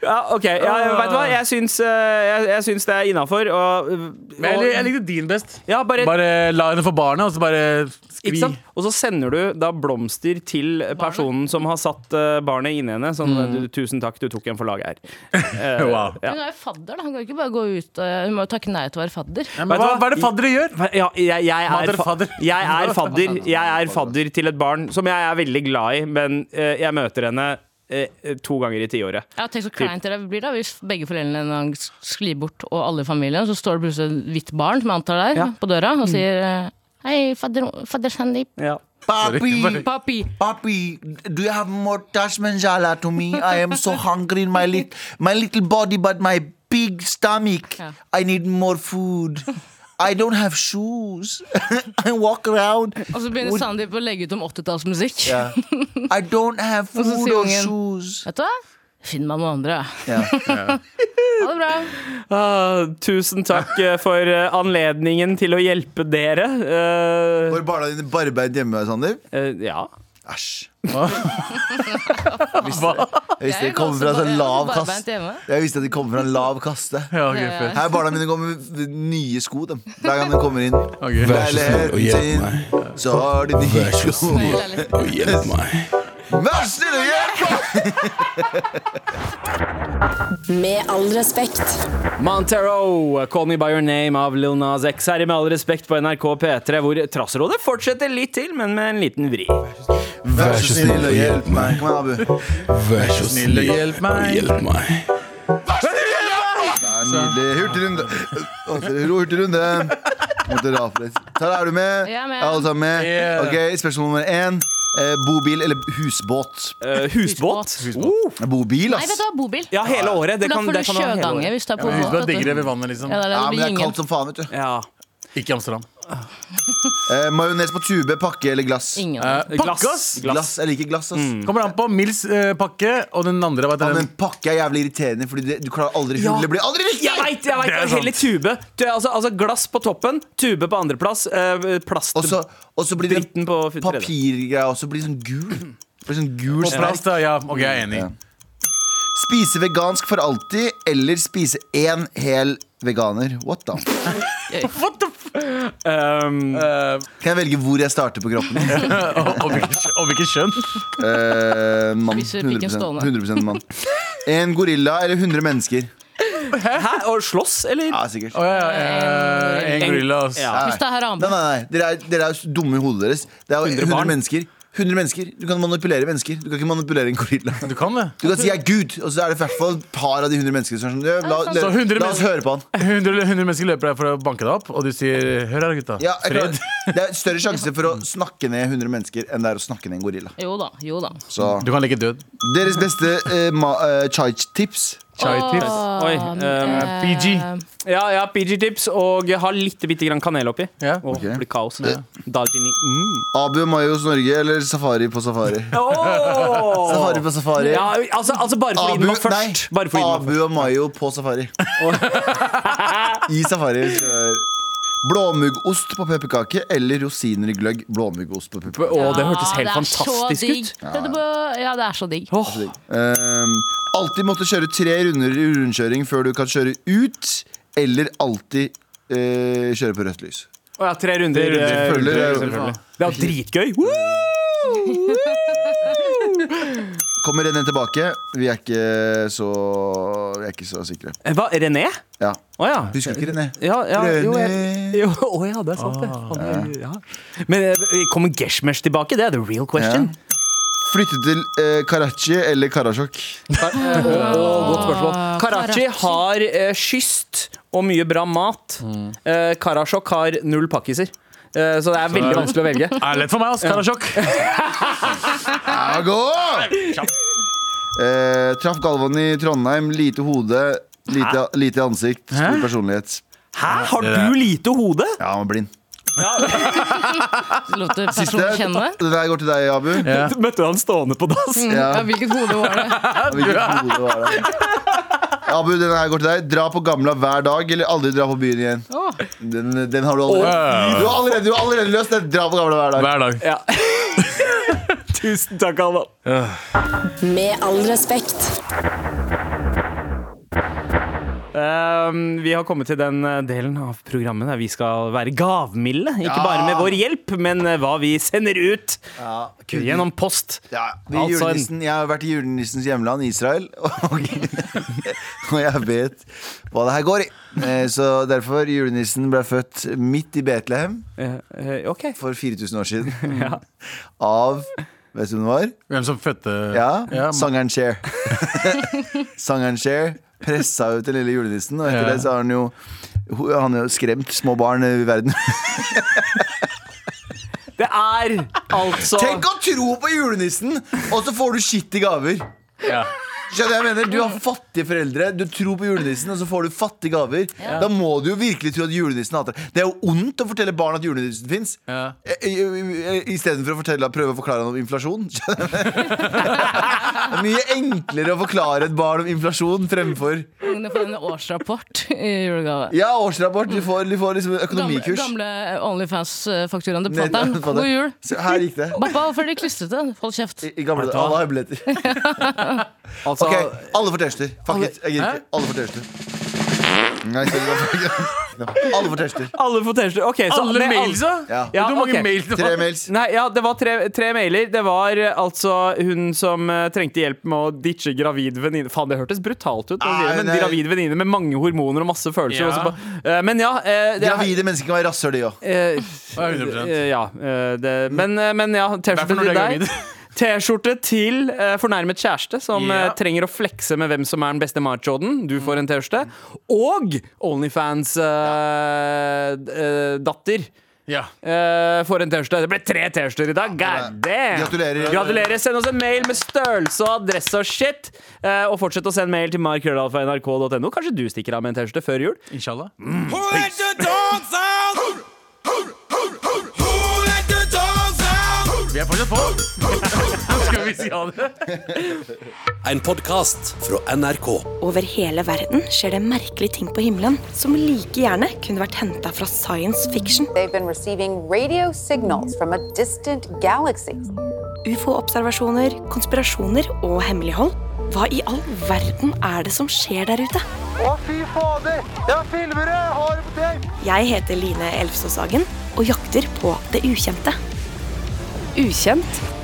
Speaker 2: Ja, OK. Ja, vet du hva? Jeg syns, eh, jeg, jeg syns det er innafor. Og,
Speaker 4: Men jeg, jeg
Speaker 2: og,
Speaker 4: likte din best.
Speaker 2: ja, bare,
Speaker 4: Bare la henne få barnet, og så bare skvi.
Speaker 2: ikke sant? Og så sender du da blomster til personen som har satt eh, barnet inni henne. Sånn du, 'Tusen takk, du tok en for
Speaker 4: [LAUGHS]
Speaker 2: laget her'.
Speaker 4: Mm.
Speaker 2: Eh,
Speaker 4: Wow.
Speaker 2: Ja.
Speaker 5: Hun er jo fadder, da. Hun kan jo ikke bare gå ut øh, Hun må jo takke nei til å være fadder.
Speaker 4: Ja, men hva, hva er det faddere gjør?
Speaker 2: Ja, jeg, jeg, er
Speaker 4: Mater,
Speaker 2: fa
Speaker 4: fadder.
Speaker 2: jeg er fadder. Jeg er fadder til et barn som jeg er veldig glad i, men eh, jeg møter henne eh, to ganger i tiåret.
Speaker 5: Ja, tenk så kleint det blir da Hvis begge foreldrene en gang sklir bort, og alle i familien, så står det plutselig et hvitt barn, som jeg antar det er,
Speaker 2: Ja.
Speaker 5: på døra, og sier øh, Hei, fadder, fadder Sandeep.
Speaker 2: Ja.
Speaker 3: Papi,
Speaker 5: Papi.
Speaker 3: papi, do you have more Taj Manjala to me? I am so hungry in my, lit my little body, but my big stomach.
Speaker 5: Ja.
Speaker 3: I need more food. I don't have shoes. [LAUGHS] I walk around.
Speaker 5: Og så begynner Sandeep å legge ut om 80-tallsmusikk.
Speaker 3: Yeah. I don't have
Speaker 5: Og så
Speaker 3: food
Speaker 5: sier
Speaker 3: or
Speaker 5: ungen-
Speaker 3: shoes.
Speaker 5: Vet du hva? Finn meg noen andre.
Speaker 3: Ja.
Speaker 5: Ha det bra.
Speaker 2: Ah, tusen takk eh, for eh, anledningen til å hjelpe dere. Eh,
Speaker 3: Var barna dine barbeint hjemme, Sander?
Speaker 2: eh, ja.
Speaker 3: Æsj.
Speaker 4: Hva?
Speaker 3: Jeg visste
Speaker 5: Jeg
Speaker 3: de kom
Speaker 5: er
Speaker 3: fra en
Speaker 5: også
Speaker 3: sånn
Speaker 5: bar-
Speaker 3: lav
Speaker 5: barbeint
Speaker 3: kaste.
Speaker 5: hjemme.
Speaker 3: Jeg visste at de kom fra en lav kaste.
Speaker 4: Ja, ok, fett.
Speaker 3: Her barna mine går med nye sko dem. hver gang de kommer inn.
Speaker 4: Ok.
Speaker 8: Vær så snill og hjelp meg.
Speaker 3: Så har de nye
Speaker 8: Vær så
Speaker 3: sko.
Speaker 8: snill og hjelp meg.
Speaker 3: Vær så snill og hjelp!
Speaker 6: Med all respekt.
Speaker 2: Montero, eh, Call Me By Your Name av Lil Nas X her i Med all respekt på NRK P3, hvor Trasserådet fortsetter litt til, men med en liten vri.
Speaker 8: Vær så snill og hjelp meg.
Speaker 3: Kom igjen, Abu. Det
Speaker 8: Vær så snill og hjelp meg. Hjelp meg.
Speaker 3: er nydelig. Hurtigrunde. Å, dere, Hurtigrunde. Måtte rape litt. Tara, er du med?
Speaker 5: Jeg er med.
Speaker 3: Alle sammen med?
Speaker 4: Yeah.
Speaker 3: Ok, Spørsmål nummer én. Eh, bobil eller husbåt?
Speaker 2: Eh, husbåt. Uh,
Speaker 3: Bobil,
Speaker 5: Nei, vet
Speaker 3: ass.
Speaker 5: du hva, bobil.
Speaker 2: ja, hele året. Det
Speaker 5: For da
Speaker 2: kan, det
Speaker 5: får
Speaker 2: kan man
Speaker 5: du
Speaker 2: ha hele
Speaker 5: sjøgange
Speaker 2: året.
Speaker 5: hvis du er på
Speaker 4: Huset
Speaker 5: båt.
Speaker 4: er
Speaker 5: vet
Speaker 4: diggere
Speaker 5: du.
Speaker 4: ved vannet, liksom.
Speaker 5: Ja, det er det
Speaker 3: Ja, men
Speaker 5: det
Speaker 3: det
Speaker 5: blir
Speaker 3: er
Speaker 5: gjengen.
Speaker 3: kaldt som faen, vet du.
Speaker 2: Ja.
Speaker 4: Ikke i Amsterdam.
Speaker 3: Eh, Majones på tube, pakke eller glass?
Speaker 5: Ingen.
Speaker 4: Eh,
Speaker 2: Glass.
Speaker 4: pakke, ass!
Speaker 3: Glass. Jeg liker glass, ass.
Speaker 4: Kommer an på Mils eh, pakke, og den andre hva
Speaker 3: Ja,
Speaker 4: heter
Speaker 3: men
Speaker 4: Mm. den?
Speaker 3: pakke er jævlig irriterende, Fordi det, du klarer aldri
Speaker 2: Ja.
Speaker 3: hullet blir aldri riktig!
Speaker 2: Jeg veit! Jeg vet,
Speaker 4: Det er
Speaker 2: og Heller tube. Du, altså, altså glass på toppen, tube på andreplass, eh, plast
Speaker 3: Og så- og så blir det
Speaker 2: Dritten på tredje.
Speaker 3: papirgreia også blir sånn gul. Blir sånn gul
Speaker 4: På
Speaker 3: sterk.
Speaker 4: plass, da. Ja, ok, jeg er enig.
Speaker 3: Spise vegansk for alltid eller spise én hel veganer. What da? Mm.
Speaker 2: Um,
Speaker 3: Kan jeg velge hvor jeg starter på kroppen?
Speaker 4: Eh, og, og, hvilket, og hvilket kjønn?
Speaker 3: Eh, mann.
Speaker 5: Spiser pikken
Speaker 3: 100%,
Speaker 5: stående.
Speaker 3: 100 mann. En gorilla eller 100 mennesker?
Speaker 2: hæ? Og slåss, eller?
Speaker 3: Ja, sikkert.
Speaker 4: Å, ja, ja, eh, en gorilla. ass.
Speaker 2: Ja.
Speaker 5: Hvis det
Speaker 3: Nei,
Speaker 5: er harambe.
Speaker 3: nei, nei. Dere er, dere er jo dumme i hodet deres. Det er jo
Speaker 2: 100
Speaker 3: 100,
Speaker 2: barn.
Speaker 3: mennesker. 100 mennesker. Du kan manipulere mennesker. Du kan ikke manipulere en gorilla.
Speaker 4: Du kan det.
Speaker 3: Du kan si 'jeg er Gud', og så er det i hvert fall et par av de 100 menneskene som er sånn «Ja, la,
Speaker 5: sant.
Speaker 3: la,
Speaker 4: Så 100
Speaker 3: la oss høre på han.
Speaker 4: 100, eller 100 mennesker løper deg for å banke deg opp, og du sier 'hør her, gutta'.
Speaker 3: Ja, jeg
Speaker 4: Fred.
Speaker 3: klarer- [LAUGHS] det er større sjanse for å snakke ned 100 mennesker enn det er å snakke ned en gorilla.
Speaker 5: Jo da, jo da.
Speaker 3: Så
Speaker 4: Du kan ligge død.
Speaker 3: deres beste eh, ma- eh, chai-tips
Speaker 4: Chai-tips.
Speaker 2: Oi. Um,
Speaker 5: Eh,
Speaker 4: PG.
Speaker 2: ja, ja, PG-tips og ha litt bitte grann kanel oppi.
Speaker 4: Ja.
Speaker 2: Åh,
Speaker 3: Ok.
Speaker 2: det blir kaos. Mm. Dalgini.
Speaker 3: Abu og Mayos Norge eller Safari på Safari?
Speaker 2: Åh!
Speaker 3: Safari på Safari.
Speaker 2: Ja, altså, altså bare fordi den var
Speaker 3: nei,
Speaker 2: først. Bare fordi den var
Speaker 3: Abu og Mayo på safari. I safari. hvis du er- Blåmuggost på pepperkake eller rosiner i gløgg. Blåmuggost på pepperkake.
Speaker 2: først. Åh, det
Speaker 5: ja,
Speaker 2: hørtes helt
Speaker 5: det er så
Speaker 2: fantastisk
Speaker 5: digg.
Speaker 2: ut.
Speaker 5: Det er bare- Ja, det er så digg.
Speaker 2: Åh,
Speaker 3: Um, alltid måtte kjøre tre runder i rundkjøring før du kan kjøre ut, eller alltid eh, kjøre på rødt lys.
Speaker 2: Åh, ja, tre runder.
Speaker 4: runder,
Speaker 2: eh,
Speaker 3: følger,
Speaker 2: runder,
Speaker 3: følger.
Speaker 2: selvfølgelig. Det var dritgøy. Woo!
Speaker 3: Kommer René tilbake? Vi er ikke så, vi er ikke så sikre.
Speaker 2: Eh, Hva, René?
Speaker 3: Ja.
Speaker 2: Å ja.
Speaker 3: Husker du ikke René?
Speaker 2: Ja, ja, jo,
Speaker 3: René.
Speaker 2: jeg, [LAUGHS] jo, å ja, det er sant, det. Han, ja. Men eh, kommer Geshmesh tilbake? Det er the real question.
Speaker 3: Flytte til eh, Karachi eller Karasjok?
Speaker 2: [LAUGHS] Åh, godt spørsmål. Karachi
Speaker 5: Karachi.
Speaker 2: har eh, kyst og mye bra mat. Eh, Karasjok har null pakkiser. Eh, så det er veldig vanskelig å velge.
Speaker 4: [LAUGHS] Er lett for meg, ass. Karasjok.
Speaker 3: Ja, gå! Eh, traff Galvan i Trondheim. Lite hode, lite, lite ansikt, stor personlighet.
Speaker 2: Hæ, har du lite hode?
Speaker 3: Ja, han var blind.
Speaker 5: Lot du personen
Speaker 3: Det,
Speaker 5: kjenne?
Speaker 3: det der går til deg, Abu.
Speaker 4: Ja.
Speaker 2: [LAUGHS] Møtte han stående på dass?
Speaker 5: Mm. Ja,
Speaker 3: Ja,
Speaker 5: hvilket hode var det?
Speaker 3: hvilket hode var det? Abu, den her går til deg. Dra på Gamla hver dag, eller aldri dra på byen igjen.
Speaker 5: Åh.
Speaker 3: Den, den har du allerede. Du har allerede, du har allerede løst den. Dra på Gamla hver dag.
Speaker 4: Hver dag.
Speaker 2: Ja. Tusen takk, Alva.
Speaker 6: Med all respekt.
Speaker 2: Ehm, vi har kommet til den eh, delen av programmet der vi skal være gavmilde. Ikke bare med vår hjelp, men eh, hva vi sender ut gjennom post.
Speaker 3: Ja, vi
Speaker 2: Altså en-
Speaker 3: julenissen, jeg har vært i julenissens hjemland, Israel, [LAUGHS] og, og jeg vet hva det her går i. Eh, Så derfor, julenissen ble født midt i Betlehem
Speaker 2: Eh, eh, ok.
Speaker 3: for 4000 år siden. Av Vet du hvem det var?
Speaker 4: Hvem som fødte
Speaker 3: Ja,
Speaker 4: Ja,
Speaker 3: sangeren
Speaker 4: [LAUGHS]
Speaker 3: Cher. sangeren Cher pressa ut den lille julenissen, og etter
Speaker 4: Ja.
Speaker 3: det så har han jo han har jo skremt små barn i verden.
Speaker 2: Det er altså
Speaker 3: Tenk å tro på julenissen, og så får du skitt i gaver.
Speaker 4: ja.
Speaker 3: Skjønner jeg mener, Du har fattige foreldre, du tror på julenissen, og så får du fattige gaver. Da må du jo virkelig tro at julenissen hater deg. Det er jo ondt å fortelle barn at julenissen Eh, fins,
Speaker 4: Ja.
Speaker 3: istedenfor å fortelle, prøve å forklare ham om inflasjon. [LAUGHS] Skjønner du? Det er mye enklere å forklare et barn om inflasjon fremfor
Speaker 5: Ungene får en årsrapport i julegave.
Speaker 3: Ja, årsrapport. Du får, du får liksom
Speaker 5: Gamle,
Speaker 3: økonomikurs.
Speaker 5: gamle Onlyfans-fakturaen til
Speaker 3: Ned-
Speaker 5: fatter'n. God jul!
Speaker 3: Se, Her gikk det.
Speaker 5: Pappa, hvorfor er de klistrete? Hold kjeft.
Speaker 3: I, i gamle dager. Alle har billetter.
Speaker 2: altså,
Speaker 3: Ok, alle får T-skjorter. Fuck it. Jeg gidder ikke. Alle får T-skjorter. Nei, sorry, det var ikke- Alle får T-skjorter.
Speaker 2: Alle får T-skjorte. Ok, så
Speaker 4: Alle
Speaker 2: med alle-
Speaker 4: mails, da?
Speaker 3: Ja.
Speaker 2: Ja,
Speaker 4: Hvor mange
Speaker 2: ok.
Speaker 4: mail det
Speaker 3: Tre
Speaker 4: var?
Speaker 3: mails.
Speaker 2: Nei, ja, det var tre, tre mailer. Det var eh, altså hun som eh, trengte hjelp med å ditche gravid venninne. Faen, det hørtes brutalt ut. å si det,
Speaker 3: Nei,
Speaker 2: Men
Speaker 3: nei.
Speaker 2: gravid venninne med mange hormoner og masse følelser.
Speaker 4: Ja.
Speaker 2: og så ba- eh, men ja. eh, det er-
Speaker 3: Gravide mennesker kan være rasshøl, de òg.
Speaker 2: eh,
Speaker 4: Ja, 100%.
Speaker 2: eh, ja eh, det, men, eh, men ja,
Speaker 4: Derfor
Speaker 2: T-skjorte til
Speaker 4: når du er
Speaker 2: deg.
Speaker 4: gravid.
Speaker 2: T-skjorte til eh, fornærmet kjæreste som
Speaker 4: Ja.
Speaker 2: eh, trenger å flekse med hvem som er den beste machoen. Du får en T-skjorte. Og eh, Onlyfans-datter.
Speaker 4: Ja.
Speaker 2: eh, får en T-skjorte. Det ble tre T-skjorter i dag. God damn!
Speaker 3: Gratulerer.
Speaker 2: Gratulerer. Send oss en mail med størrelse og adresse og shit. Eh, og fortsett å sende mail til markrøllalfa.nrk.no. Kanskje du stikker av med en T-skjorte før jul?
Speaker 4: Inshallah.
Speaker 2: [LAUGHS]
Speaker 4: Vi er fortsatt på. Skal vi si ha det?
Speaker 9: En podkast fra NRK.
Speaker 10: Over hele verden skjer det merkelige ting på himmelen som like gjerne kunne vært henta fra science fiction.
Speaker 11: They've been receiving radio signals from a distant galaxy.
Speaker 10: Ufo-observasjoner, konspirasjoner og hemmelighold. Hva i all verden er det som skjer der ute?
Speaker 3: Å, fy fader! Jeg filmer det! Har det på tape!
Speaker 10: Jeg heter Line Elfsåshagen og jakter på det ukjente.
Speaker 6: Ukjent